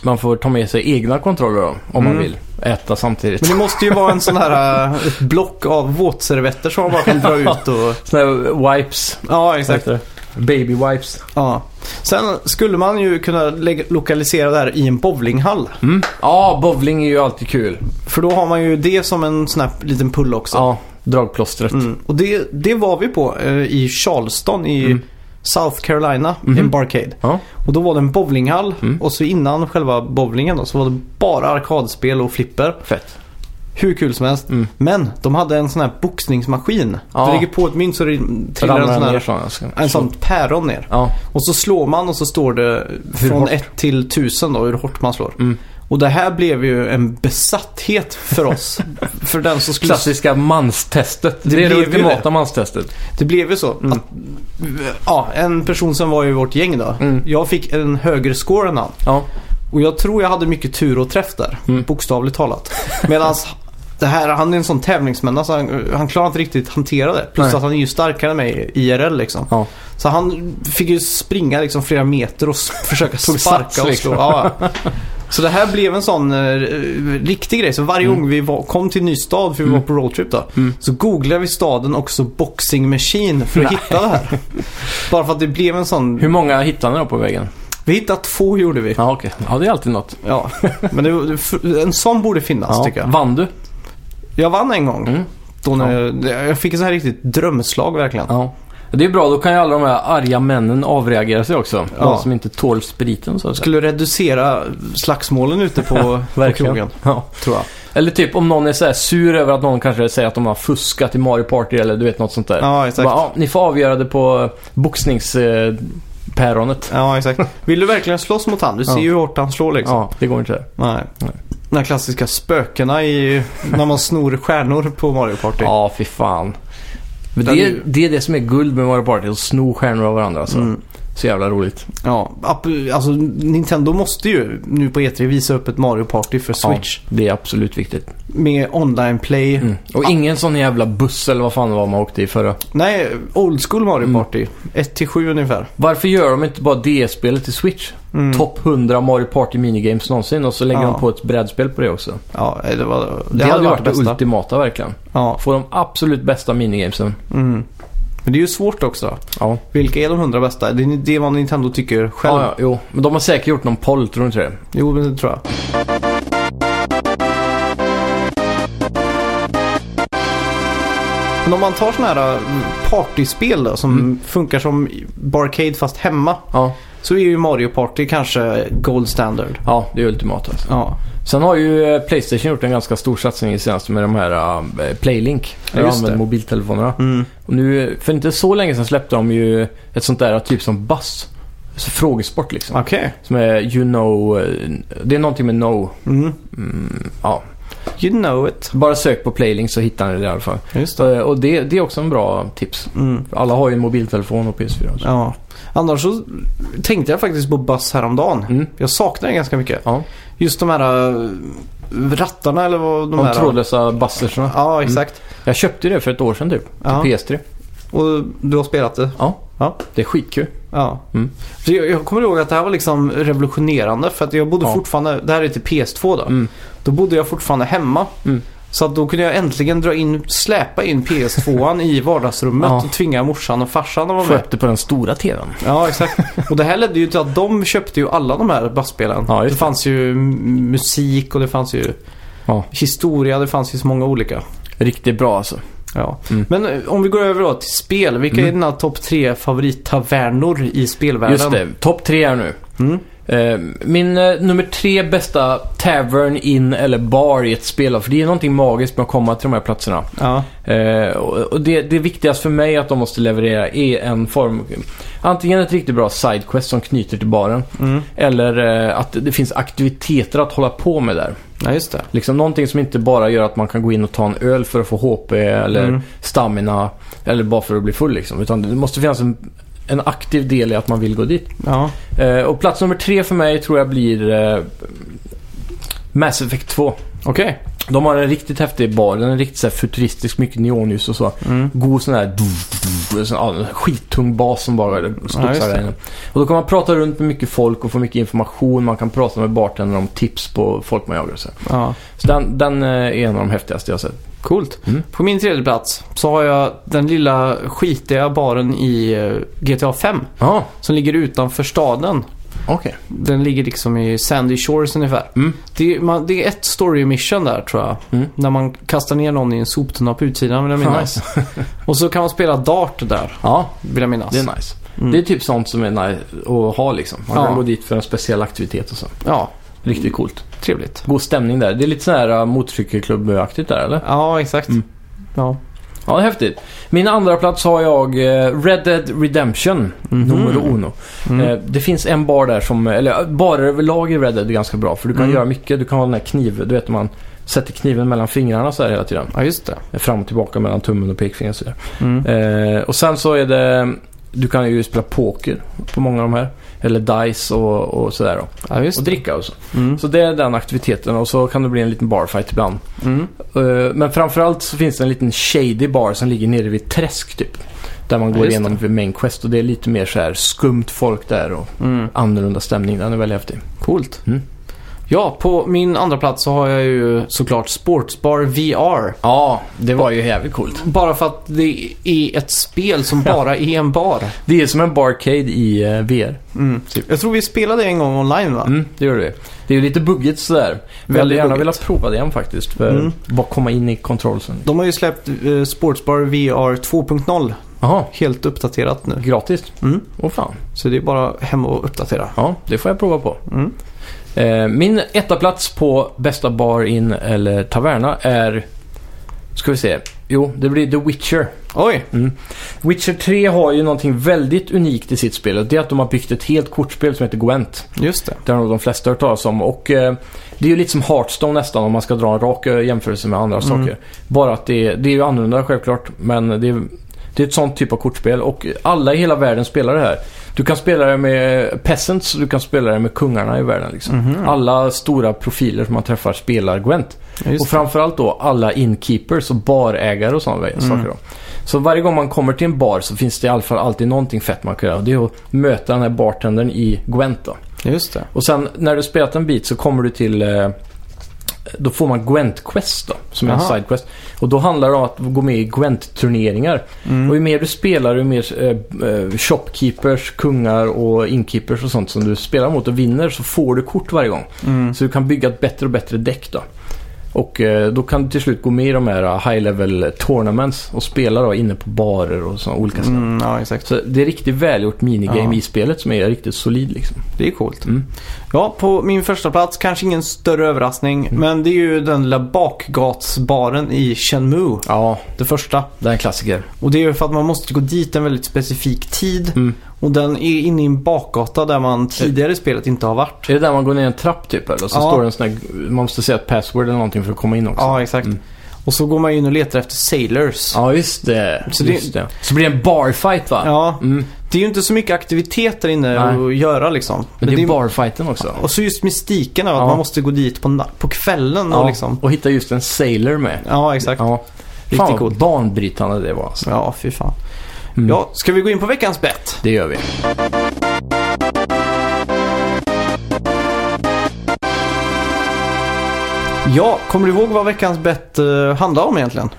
Speaker 2: man får ta med sig egna kontroller då, om man
Speaker 1: Mm.
Speaker 2: vill. Äta samtidigt.
Speaker 1: Men det måste ju vara en sån här eh, ett block av våtservetter som man bara kan dra ut och...
Speaker 2: Såna här wipes.
Speaker 1: Ja, exakt.
Speaker 2: heter det. Baby wipes.
Speaker 1: Ja. Sen skulle man ju kunna lägga, lokalisera det här i en bowlinghall.
Speaker 2: Mm. Ja, bowling är ju alltid kul.
Speaker 1: För då har man ju det som en sån här liten pull också.
Speaker 2: Ja, dragplåstret.
Speaker 1: Mm. Och det, det var vi på eh, i Charleston i
Speaker 2: Mm.
Speaker 1: South Carolina,
Speaker 2: Mhm.
Speaker 1: en barcade.
Speaker 2: Ja.
Speaker 1: Och då var det en bowlinghall
Speaker 2: Mm.
Speaker 1: och så innan själva bowlingen då, så var det bara arkadspel och flipper.
Speaker 2: Fett.
Speaker 1: Hur kul som helst.
Speaker 2: Mm.
Speaker 1: Men de hade en sån här boxningsmaskin.
Speaker 2: Ja.
Speaker 1: Du lägger på ett mynt så det trillar en
Speaker 2: Ramlar
Speaker 1: sån
Speaker 2: ner
Speaker 1: här,
Speaker 2: så jag ska-
Speaker 1: en sån päron ner.
Speaker 2: Ja,
Speaker 1: Och så slår man och så står det
Speaker 2: Hur
Speaker 1: från
Speaker 2: hårt?
Speaker 1: 1 till 1000 då hur hårt man slår.
Speaker 2: Mm.
Speaker 1: Och det här blev ju en besatthet för oss. för den som skulle...
Speaker 2: klassiska manstestet.
Speaker 1: Det
Speaker 2: Det, är det
Speaker 1: blev ju
Speaker 2: ultimata
Speaker 1: det.
Speaker 2: manstestet.
Speaker 1: Det blev ju så.
Speaker 2: Mm.
Speaker 1: Att, ja, en person som var i vårt gäng då.
Speaker 2: Mm.
Speaker 1: Jag fick en högre score än han.
Speaker 2: Ja.
Speaker 1: Och jag tror jag hade mycket tur och träff där.
Speaker 2: Mm.
Speaker 1: Bokstavligt talat. Medan det här, han är en sån tävlingsmänniska så han, han klarar inte riktigt hantera det. Plus
Speaker 2: Nej.
Speaker 1: att han är ju starkare än mig i IRL liksom.
Speaker 2: Ja.
Speaker 1: Så han fick ju springa liksom flera meter och s- försöka
Speaker 2: Tog
Speaker 1: sparka
Speaker 2: sats,
Speaker 1: och slå.
Speaker 2: liksom.
Speaker 1: Ja, ja. Så det här blev en sån eh, riktig grej. Så varje gång vi var, kom till en ny stad, för vi var på roadtrip då,
Speaker 2: Mm.
Speaker 1: så googlade vi staden också boxing machine för att hitta det här. Bara för att det blev en sån...
Speaker 2: Hur många hittade ni då på vägen?
Speaker 1: Vi hittade två gjorde vi.
Speaker 2: Ja, okej. Ja, det är alltid något.
Speaker 1: Ja, men det, det, f- en sån borde finnas
Speaker 2: Ja.
Speaker 1: tycker jag.
Speaker 2: Vann du?
Speaker 1: Jag vann en gång.
Speaker 2: Mm.
Speaker 1: Då när jag, jag fick ett så här riktigt drömslag verkligen.
Speaker 2: Ja. Det är bra, då kan ju alla de här arga männen avreagera sig också.
Speaker 1: Ja.
Speaker 2: De som inte tål spriten så att säga.
Speaker 1: Skulle reducera slagsmålen ute på, på krogen,
Speaker 2: Ja.
Speaker 1: tror jag.
Speaker 2: Eller typ om någon är så här sur över att någon kanske säger att de har fuskat i Mario Party eller du vet något sånt där.
Speaker 1: Ja,
Speaker 2: Bara,
Speaker 1: exakt.
Speaker 2: ja, ni får avgöra det på boxningspäronet.
Speaker 1: Ja, exakt. Vill du verkligen slåss mot han? Du ser
Speaker 2: Ja.
Speaker 1: ju hur hårt han slår liksom.
Speaker 2: Ja, det går inte.
Speaker 1: Nej. De här klassiska spökena i när man snor stjärnor på Mario Party.
Speaker 2: Ja, fy fan. Men
Speaker 1: Den
Speaker 2: det,
Speaker 1: är
Speaker 2: är,
Speaker 1: ju-
Speaker 2: det är det som är guld med Mario Party, att sno stjärnor av varandra alltså.
Speaker 1: Mm.
Speaker 2: Så jävla roligt.
Speaker 1: Ja, app- alltså Nintendo måste ju nu på E3 visa upp ett Mario Party för Switch.
Speaker 2: Ja, det är absolut viktigt.
Speaker 1: Med online play.
Speaker 2: Mm. Och ingen sån jävla buss eller vad fan det var man åkte i förra.
Speaker 1: Nej, old school Mario
Speaker 2: Mm.
Speaker 1: Party. 1-7 ungefär.
Speaker 2: Varför gör de inte bara DS-spelet till Switch?
Speaker 1: Mm.
Speaker 2: Topp 100 Mario Party minigames någonsin och så lägger
Speaker 1: Ja.
Speaker 2: de på ett brädspel på det också.
Speaker 1: Ja, det, var,
Speaker 2: Det, hade varit det,
Speaker 1: bästa.
Speaker 2: ultimata verkligen.
Speaker 1: Ja,
Speaker 2: Få de absolut bästa minigamesen.
Speaker 1: mm. Men det är ju svårt också.
Speaker 2: Ja.
Speaker 1: Vilka är de 100 bästa? Det är det är vad Nintendo tycker själv.
Speaker 2: Ja, ja, jo. Men de har säkert gjort någon poll, tror du inte det?
Speaker 1: Jo, men det tror jag. Men om man tar sådana här mm, partyspel då, som
Speaker 2: Mm.
Speaker 1: funkar som Barcade fast hemma.
Speaker 2: Ja.
Speaker 1: Så är ju Mario Party kanske gold standard.
Speaker 2: Ja, det är ultimat alltså.
Speaker 1: Ja,
Speaker 2: Sen har ju eh, Playstation gjort en ganska stor satsning i senaste med de här eh, Playlink.
Speaker 1: Ja,
Speaker 2: Där du
Speaker 1: just
Speaker 2: använder
Speaker 1: det.
Speaker 2: mobiltelefonerna.
Speaker 1: mm.
Speaker 2: Och nu, för inte så länge sedan släppte de ju ett sånt där typ som Buzz. Alltså frågesport liksom.
Speaker 1: okej.
Speaker 2: Som är You know... eh, Det är någonting med know.
Speaker 1: Mm.
Speaker 2: Mm, ja.
Speaker 1: You know it.
Speaker 2: Bara sök på Playlink så hittar ni det i alla fall.
Speaker 1: Just
Speaker 2: Så, eh, och det, det är också en bra tips.
Speaker 1: Mm.
Speaker 2: Alla har ju en mobiltelefon och PS4. Alltså.
Speaker 1: Ja. Annars så tänkte jag faktiskt på Buzz häromdagen.
Speaker 2: Mm.
Speaker 1: Jag saknar den ganska mycket.
Speaker 2: Ja.
Speaker 1: Just de här eh, rattarna eller vad de,
Speaker 2: De
Speaker 1: här...
Speaker 2: trådlösa Mm. buzzerserna.
Speaker 1: Ja, exakt.
Speaker 2: Jag köpte ju det för ett år sedan typ. Till
Speaker 1: Ja.
Speaker 2: PS3.
Speaker 1: Och du har spelat det?
Speaker 2: Ja.
Speaker 1: Ja.
Speaker 2: Det är skitkul.
Speaker 1: Ja.
Speaker 2: Mm.
Speaker 1: Så jag, jag kommer ihåg att det här var liksom revolutionerande för att jag bodde
Speaker 2: Ja.
Speaker 1: fortfarande, det här är till PS2 då.
Speaker 2: Mm.
Speaker 1: Då bodde jag fortfarande hemma.
Speaker 2: Mm.
Speaker 1: Så att då kunde jag äntligen dra in, släpa in PS2an i vardagsrummet
Speaker 2: Ja.
Speaker 1: och tvinga morsan och farsan att vara med.
Speaker 2: Skötte på den stora TVn.
Speaker 1: Ja, exakt. Och det här ledde ju till att de köpte ju alla de här bandspelen.
Speaker 2: Ja,
Speaker 1: det
Speaker 2: just det.
Speaker 1: fanns ju m- musik och det fanns ju
Speaker 2: Ja.
Speaker 1: historia, det fanns ju så många olika.
Speaker 2: Riktigt bra alltså.
Speaker 1: Ja.
Speaker 2: Mm.
Speaker 1: Men eh, om vi går över då till spel. Vilka är dina topp tre favorittavernor i spelvärlden?
Speaker 2: Just det. Topp tre här nu.
Speaker 1: Mm.
Speaker 2: Eh, Min eh, nummer tre bästa tavern, in eller bar i ett spel. För det är någonting magiskt med att komma till de här platserna.
Speaker 1: Ja.
Speaker 2: Eh, och och det, det viktigaste för mig att de måste leverera är en form... Antingen ett riktigt bra sidequest som knyter till baren.
Speaker 1: Mm.
Speaker 2: Eller eh, att det finns aktiviteter att hålla på med där.
Speaker 1: ja, just det.
Speaker 2: Liksom någonting som inte bara gör att man kan gå in och ta en öl för att få HP eller
Speaker 1: Mm.
Speaker 2: stamina. Eller bara för att bli full liksom. Utan det måste finnas en, en aktiv del i att man vill gå dit.
Speaker 1: Ja.
Speaker 2: Eh, och plats nummer tre för mig tror jag blir eh, Mass Effect 2.
Speaker 1: Okej.
Speaker 2: De har en riktigt häftig bar. Den är riktigt så här, futuristisk, mycket neonljus och så.
Speaker 1: Mm.
Speaker 2: God sån här sån, ja, en skittung bas som bara
Speaker 1: Ja,
Speaker 2: studsar
Speaker 1: just
Speaker 2: där
Speaker 1: det.
Speaker 2: inne. Och då kan man prata runt med mycket folk och få mycket information. Man kan prata med bartendern om tips på folk man jagar. och Så, här.
Speaker 1: Ja.
Speaker 2: så den, den eh, är en av de häftigaste jag har sett.
Speaker 1: Coolt.
Speaker 2: Mm.
Speaker 1: På min tredje plats så har jag den lilla skitiga baren i eh, GTA 5
Speaker 2: Ja,
Speaker 1: som ligger utanför staden.
Speaker 2: okej.
Speaker 1: Den ligger liksom i Sandy Shores ungefär.
Speaker 2: Mm.
Speaker 1: Det, är- man, det är ett story mission där tror jag.
Speaker 2: Mm.
Speaker 1: När man kastar ner någon i en soptunna på utsidan vill jag
Speaker 2: Fan,
Speaker 1: minnas. Och så kan man spela dart där
Speaker 2: Ja,
Speaker 1: vill jag minnas.
Speaker 2: det är nice.
Speaker 1: Mm.
Speaker 2: Det är typ sånt som är nice att ha liksom. Man
Speaker 1: Ja.
Speaker 2: kan gå dit för en speciell aktivitet och så.
Speaker 1: Ja,
Speaker 2: Riktigt coolt.
Speaker 1: trevligt.
Speaker 2: God stämning där. Det är lite sån här äh, motorcykelklubbaktigt där eller?
Speaker 1: Ja, exakt.
Speaker 2: Mm.
Speaker 1: Ja.
Speaker 2: Ja, det är häftigt. Min andra plats har jag eh, Red Dead Redemption,
Speaker 1: Mhm.
Speaker 2: nummer uno.
Speaker 1: Mm.
Speaker 2: Eh, Det finns en bar där som, eller eh, barer överlag i Red Dead är ganska bra för du kan
Speaker 1: Mm.
Speaker 2: göra mycket. Du kan ha den här kniven, du vet man sätter kniven mellan fingrarna så här hela tiden.
Speaker 1: ja, just det.
Speaker 2: Fram och tillbaka mellan tummen och pekfingret så där.
Speaker 1: Mm.
Speaker 2: Eh, och sen så är det, du kan ju spela poker på många av de här. Eller dice och, och sådär då.
Speaker 1: Ja, just
Speaker 2: Och
Speaker 1: det.
Speaker 2: dricka och så.
Speaker 1: Mm.
Speaker 2: Så det är den aktiviteten och så kan det bli en liten barfight ibland.
Speaker 1: Mm.
Speaker 2: Eh, Men framförallt så finns det en liten shady bar som ligger nere vid ett träsk typ. Där man
Speaker 1: Ja,
Speaker 2: går
Speaker 1: just
Speaker 2: igenom vid main quest och det är lite mer så här skumt folk där och
Speaker 1: Mm.
Speaker 2: annorlunda stämning. Den är väldigt häftig.
Speaker 1: Coolt.
Speaker 2: Mm.
Speaker 1: Ja, på min andra plats så har jag ju såklart Sportsbar VR.
Speaker 2: Ja, det var ju jävligt coolt.
Speaker 1: Bara för att det är ett spel som
Speaker 2: Ja.
Speaker 1: bara är en bar. Typ.
Speaker 2: Det är som en barcade i eh, VR.
Speaker 1: Mm. Jag tror vi spelade en gång online va?
Speaker 2: Mm, det gör det. Det är ju lite buggigt sådär. Men jag hade
Speaker 1: Väldigt
Speaker 2: gärna
Speaker 1: buggigt.
Speaker 2: velat prova det igen faktiskt. För
Speaker 1: Mm.
Speaker 2: bara komma in i kontrollsen.
Speaker 1: De har ju släppt eh, Sportsbar VR 2.0
Speaker 2: Jaha,
Speaker 1: helt uppdaterat nu.
Speaker 2: gratis?
Speaker 1: Mm.
Speaker 2: Åh fan.
Speaker 1: Så det är bara hem och uppdatera.
Speaker 2: Ja, det får jag prova på.
Speaker 1: Mm.
Speaker 2: Eh, min etta plats på bästa bar in eller taverna är... Ska vi se. Jo, det blir The Witcher.
Speaker 1: Oj!
Speaker 2: Witcher 3 har ju någonting väldigt unikt i sitt spel. och Det är att de har byggt ett helt kortspel som heter Gwent.
Speaker 1: Just det.
Speaker 2: Det har nog de flesta hört talas om. Och eh, det är ju lite som Hearthstone nästan om man ska dra en rak eh, jämförelse med andra
Speaker 1: Mm.
Speaker 2: saker. Bara att det, det är ju annorlunda självklart. Men det är, det är ett sånt typ av kortspel och alla i hela världen spelar det här. Du kan spela det med peasants och du kan spela det med kungarna i världen. Liksom.
Speaker 1: Mhm.
Speaker 2: Alla stora profiler som man träffar spelar Gwent.
Speaker 1: Ja, just
Speaker 2: Och framförallt då alla inkeepers och barägare och sådana
Speaker 1: Mm.
Speaker 2: saker. Då. Så varje gång man kommer till en bar så finns det i alla fall alltid någonting fett man kan göra. Det är att möta den här bartendern i Gwent då.
Speaker 1: det. Just det.
Speaker 2: Och sen när du spelat en bit så kommer du till... eh, Då får man Gwent Quest då, som är en
Speaker 1: Aha.
Speaker 2: sidequest. Och då handlar det om att gå med i Gwent-turneringar.
Speaker 1: Mm.
Speaker 2: Och ju mer du spelar, ju mer eh, eh, shopkeepers, kungar och inkeepers och sånt som du spelar mot och vinner så får du kort varje gång.
Speaker 1: Mm.
Speaker 2: Så du kan bygga ett bättre och bättre däck då. Och eh, då kan du till slut gå med i de här eh, high level tournaments och spela då inne på barer och sådana olika ställen.
Speaker 1: Mm, ja, exakt.
Speaker 2: Så det är riktigt välgjort minigame
Speaker 1: Ja.
Speaker 2: i spelet som är riktigt solid liksom.
Speaker 1: Det är coolt.
Speaker 2: Mm.
Speaker 1: Ja, på min första plats kanske ingen större överraskning.
Speaker 2: Mm.
Speaker 1: Men det är ju den lilla bakgatsbaren i Shenmue.
Speaker 2: Ja,
Speaker 1: Det första.
Speaker 2: det är en klassiker.
Speaker 1: Och det är ju för att man måste gå dit en väldigt specifik tid.
Speaker 2: Mm. Eh.
Speaker 1: Och den är inne i en bakgata där man tidigare i spelet inte har varit.
Speaker 2: Är det där man går ner en trapp typ eller? Så
Speaker 1: Ja.
Speaker 2: står det en sån där, man måste säga ett password eller någonting för att komma in också.
Speaker 1: Ja, exakt. Mm. Och så går man in och letar efter sailors.
Speaker 2: Ja, just det.
Speaker 1: Så
Speaker 2: Så
Speaker 1: det-
Speaker 2: just det. Så blir det en barfight va?
Speaker 1: Ja,
Speaker 2: Mm.
Speaker 1: det är ju inte så mycket aktivitet där inne
Speaker 2: Nej.
Speaker 1: att göra liksom.
Speaker 2: Men det är
Speaker 1: det är-
Speaker 2: barfighten också.
Speaker 1: Och så just mystiken av att
Speaker 2: Ja.
Speaker 1: man måste gå dit på, na- på kvällen och liksom.
Speaker 2: och hitta just en sailor med.
Speaker 1: Ja, exakt.
Speaker 2: Ja.
Speaker 1: Riktigt
Speaker 2: Fan vad
Speaker 1: coolt.
Speaker 2: banbrytande det var alltså.
Speaker 1: Ja, fy fan.
Speaker 2: Mm.
Speaker 1: Ja, ska vi gå in på veckans bett?
Speaker 2: Det gör vi.
Speaker 1: Ja, kommer du ihåg vad veckans bett eh, handlar om egentligen?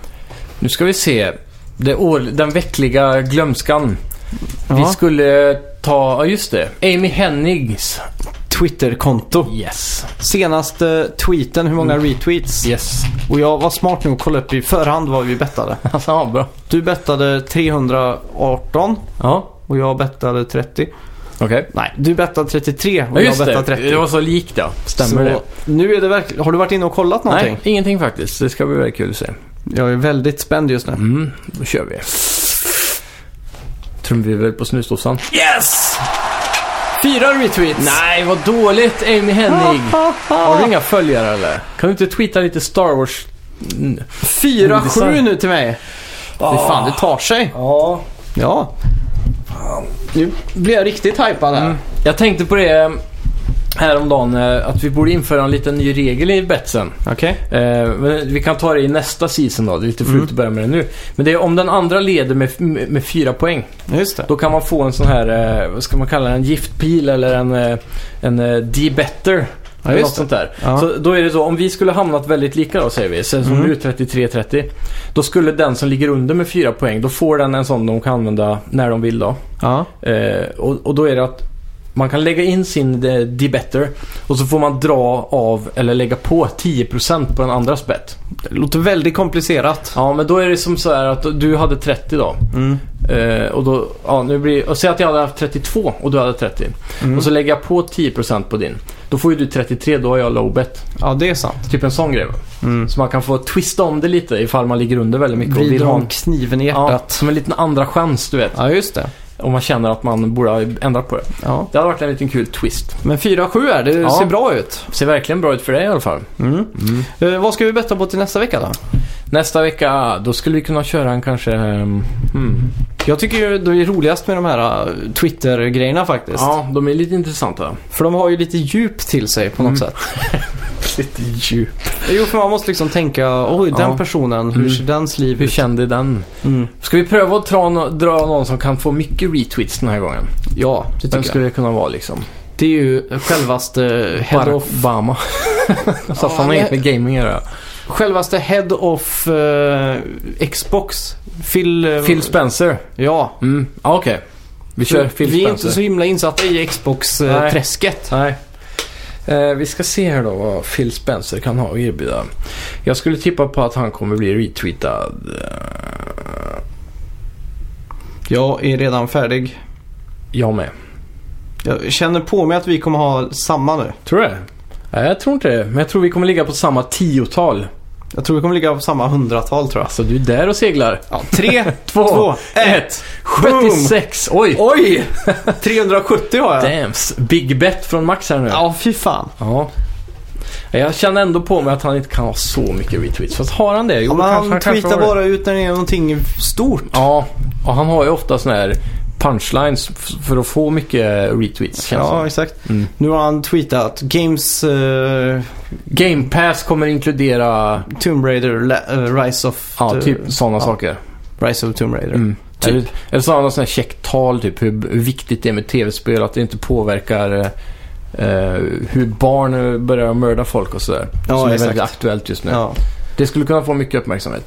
Speaker 2: Nu ska vi se. Det år, den veckliga glömskan. Vi
Speaker 1: Ja.
Speaker 2: skulle ta, ja just det. Amy Hennigs.
Speaker 1: Twitterkonto.
Speaker 2: Yes.
Speaker 1: Senaste eh, tweeten, hur
Speaker 2: Mm.
Speaker 1: många retweets?
Speaker 2: Yes.
Speaker 1: Och jag var smart nog att kolla upp i förhand vad vi bettade.
Speaker 2: Alltså, ja, bra.
Speaker 1: Du bettade 318
Speaker 2: Ja,
Speaker 1: och jag bettade 30.
Speaker 2: okej.
Speaker 1: Nej, du bettade 33 och
Speaker 2: Ja,
Speaker 1: jag
Speaker 2: just
Speaker 1: bettade
Speaker 2: det.
Speaker 1: 30.
Speaker 2: Det var så likt ja. Stämmer
Speaker 1: så
Speaker 2: det?
Speaker 1: Nu är det verkligen... Har du varit inne och kollat någonting?
Speaker 2: Nej, ingenting faktiskt. Det ska bli väldigt kul att se.
Speaker 1: Jag är väldigt spänd just nu.
Speaker 2: Mm, då kör vi. Trumvirvel på snusdosan.
Speaker 1: Yes! Fyra retweets!
Speaker 2: Nej, vad dåligt Amy Hennig! Har du inga följare eller? Kan du inte tweeta lite Star Wars? Mm.
Speaker 1: Fyra
Speaker 2: Oh, det är
Speaker 1: sju
Speaker 2: sant.
Speaker 1: nu till mig! Fy fan, det tar sig.
Speaker 2: Ah. Ja.
Speaker 1: Ja. Nu blir jag riktigt hypad här.
Speaker 2: Mm. Jag tänkte på det eh, häromdagen eh, att vi borde införa en liten ny regel i betsen.
Speaker 1: Okej.
Speaker 2: Eh, men vi kan ta det i nästa season då. Det är lite fult
Speaker 1: Mm.
Speaker 2: att börja med det nu. Men det är om den andra leder med, med, med fyra poäng.
Speaker 1: Just det.
Speaker 2: Då kan man få en sån här, eh, vad ska man kalla det, en giftpil eller en, eh, en eh, D-better.
Speaker 1: Ja,
Speaker 2: eller
Speaker 1: just
Speaker 2: något sånt där.
Speaker 1: Ja.
Speaker 2: Så då är det så, om vi skulle hamnat väldigt lika då säger vi, sen som
Speaker 1: Mm.
Speaker 2: nu 33-30. Då skulle den som ligger under med fyra poäng, då får den en sån de kan använda när de vill då.
Speaker 1: Ja.
Speaker 2: Eh, och, och då är det att man kan lägga in sin eh, D-better och så får man dra av eller lägga på 10% på den andras bet.
Speaker 1: Det låter väldigt komplicerat.
Speaker 2: Ja, men då är det som så här att du hade 30 då.
Speaker 1: Mm.
Speaker 2: Eh, och då, ja, nu blir, och säg att jag hade haft 32 och du hade 30.
Speaker 1: Mm.
Speaker 2: Och så lägger jag på 10% på din. Då får ju du 33, då har jag low bet.
Speaker 1: Ja, det är sant.
Speaker 2: Typ en sån grej. va?
Speaker 1: Mm.
Speaker 2: Så man kan få twista om det lite ifall man ligger under väldigt mycket. och
Speaker 1: Vrider
Speaker 2: vill ha
Speaker 1: om
Speaker 2: en,
Speaker 1: kniven i
Speaker 2: ja,
Speaker 1: hjärtat.
Speaker 2: som en liten andra chans, du vet.
Speaker 1: Ja, just det.
Speaker 2: Om man känner att man borde ha ändrat på det.
Speaker 1: Ja.
Speaker 2: Det hade varit en liten kul twist.
Speaker 1: Men 4-7 är det.
Speaker 2: Ja. Mm.
Speaker 1: ser bra ut.
Speaker 2: Ser verkligen bra ut för dig i alla fall.
Speaker 1: Eh, vad ska vi betta på till nästa vecka då?
Speaker 2: Nästa vecka, då skulle vi kunna köra en kanske... ehm, hmm.
Speaker 1: Jag tycker ju det är roligast med de här eh, Twitter-grejerna faktiskt.
Speaker 2: Ja, de är lite intressanta.
Speaker 1: För de har ju lite djup till sig på något
Speaker 2: Mm.
Speaker 1: sätt.
Speaker 2: Lite djup.
Speaker 1: Jo, för man måste liksom tänka, oj den
Speaker 2: Ja.
Speaker 1: personen, hur
Speaker 2: Mm.
Speaker 1: ser dens liv
Speaker 2: Hur
Speaker 1: ut?
Speaker 2: kände den?
Speaker 1: Mm.
Speaker 2: Ska vi pröva att dra, nå- dra någon som kan få mycket retweets den här gången?
Speaker 1: Ja, det tycker
Speaker 2: Vem skulle det kunna vara liksom?
Speaker 1: jag. Det är ju självaste head
Speaker 2: Barack
Speaker 1: of,
Speaker 2: Obama. Fast han har
Speaker 1: men-
Speaker 2: inget med gaming att göra.
Speaker 1: självaste head of eh, Xbox. Phil... eh,
Speaker 2: Phil Spencer.
Speaker 1: Ja.
Speaker 2: Mm. Ah, Okej. Vi kör Phil
Speaker 1: vi är
Speaker 2: Spencer.
Speaker 1: inte så himla insatta i
Speaker 2: Nej.
Speaker 1: Xbox-träsket.
Speaker 2: Nej. Eh, vi ska se här då vad Phil Spencer kan ha att erbjuda. Jag skulle tippa på att han kommer bli retweetad.
Speaker 1: Jag är redan färdig.
Speaker 2: Jag med.
Speaker 1: Jag känner på mig att vi kommer ha samma nu.
Speaker 2: Tror du det? Nej, jag tror inte det. Men jag tror vi kommer ligga på samma tiotal.
Speaker 1: Jag tror vi kommer ligga på samma hundratal tror jag.
Speaker 2: Alltså du är där och seglar.
Speaker 1: Ja, tre,
Speaker 2: Två,
Speaker 1: två, ett.
Speaker 2: ett, 76. Oj!
Speaker 1: Oj! 370 har jag.
Speaker 2: Damns. Big bet från Max här nu.
Speaker 1: Ja, fy fan.
Speaker 2: Ja. Jag känner ändå på mig att han inte kan ha så mycket retweets. Fast har han det? Jo,
Speaker 1: Ja, men han
Speaker 2: kanske- kanske
Speaker 1: tweetar
Speaker 2: har det.
Speaker 1: bara ut när det är någonting stort.
Speaker 2: Ja, och han har ju ofta sån här punchlines f- för att få mycket retweets. Känns
Speaker 1: Ja,
Speaker 2: ja.
Speaker 1: exakt.
Speaker 2: mm.
Speaker 1: Nu har han tweetat Games eh,
Speaker 2: Game Pass kommer inkludera
Speaker 1: Tomb Raider La- eh, Rise of
Speaker 2: ja,
Speaker 1: the-
Speaker 2: typ sådana
Speaker 1: ja.
Speaker 2: saker.
Speaker 1: Rise of Tomb Raider.
Speaker 2: Mm.
Speaker 1: Typ.
Speaker 2: Eller, eller så har han något sånt här käckt tal, typ hur hur viktigt det är med tv-spel, att det inte påverkar eh, eh, hur barn eh, börjar mörda folk och sådär.
Speaker 1: Ja,
Speaker 2: som är
Speaker 1: exakt.
Speaker 2: väldigt aktuellt just nu.
Speaker 1: Ja.
Speaker 2: Det skulle kunna få mycket uppmärksamhet.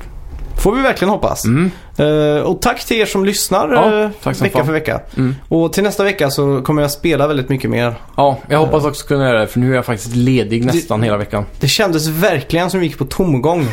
Speaker 1: Får vi verkligen hoppas.
Speaker 2: Mm.
Speaker 1: Eh, och tack till er som lyssnar
Speaker 2: Ja,
Speaker 1: eh,
Speaker 2: tack som
Speaker 1: vecka
Speaker 2: fan.
Speaker 1: för vecka.
Speaker 2: Mm.
Speaker 1: Och till nästa vecka så kommer jag spela väldigt mycket mer.
Speaker 2: Ja, jag hoppas också kunna göra det för nu är jag faktiskt ledig nästan hela veckan.
Speaker 1: Det kändes verkligen som vi gick på tomgång.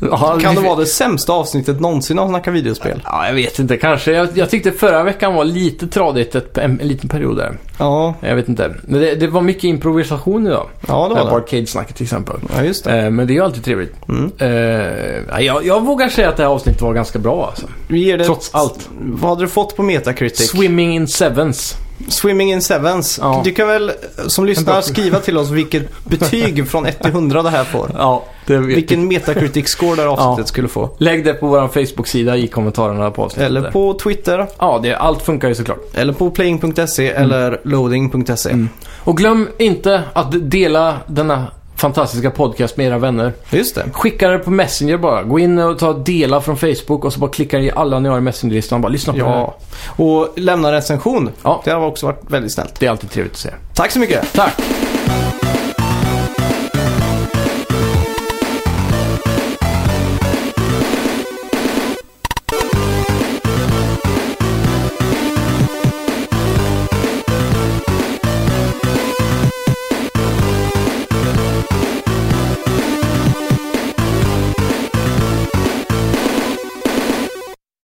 Speaker 2: Ja,
Speaker 1: kan det vara det sämsta avsnittet någonsin av Snacka videospel?
Speaker 2: Ja, jag vet inte. Kanske. Jag, jag tyckte förra veckan var lite tradigt ett, en, en liten period där.
Speaker 1: Ja,
Speaker 2: Jag vet inte. Men det, det var mycket improvisation idag.
Speaker 1: ja det var det.
Speaker 2: Arcade-snacket till exempel.
Speaker 1: Ja, just det.
Speaker 2: Eh, Men det är ju alltid trevligt.
Speaker 1: Mm.
Speaker 2: Eh, jag, jag vågar säga att det här avsnittet var ganska bra alltså.
Speaker 1: Vi ger det...
Speaker 2: Trots allt.
Speaker 1: Vad hade du fått på Metacritic?
Speaker 2: Swimming in sevens.
Speaker 1: Swimming in Sevens.
Speaker 2: Ja.
Speaker 1: Du kan väl som lyssnar skriva till oss vilket betyg från 1 till 100 det här får.
Speaker 2: Ja, det vet
Speaker 1: Vilken Metacritic score det här avsnittet skulle få.
Speaker 2: Lägg det på vår Facebook-sida i kommentarerna på avsnittet.
Speaker 1: Eller
Speaker 2: där.
Speaker 1: på Twitter,
Speaker 2: Ja, det, allt funkar ju såklart.
Speaker 1: eller på playing.se eller loading.se.
Speaker 2: Och glöm inte att dela denna fantastiska podcast med era vänner.
Speaker 1: Just det.
Speaker 2: Skicka det på Messenger bara. Gå in och ta dela från Facebook och så bara klicka i alla ni har i Messengerlistan. Bara lyssna på det här.
Speaker 1: Ja. Och lämna recension.
Speaker 2: Ja.
Speaker 1: Det har också varit väldigt snällt.
Speaker 2: Det är alltid trevligt att se.
Speaker 1: Tack så mycket!
Speaker 2: Tack!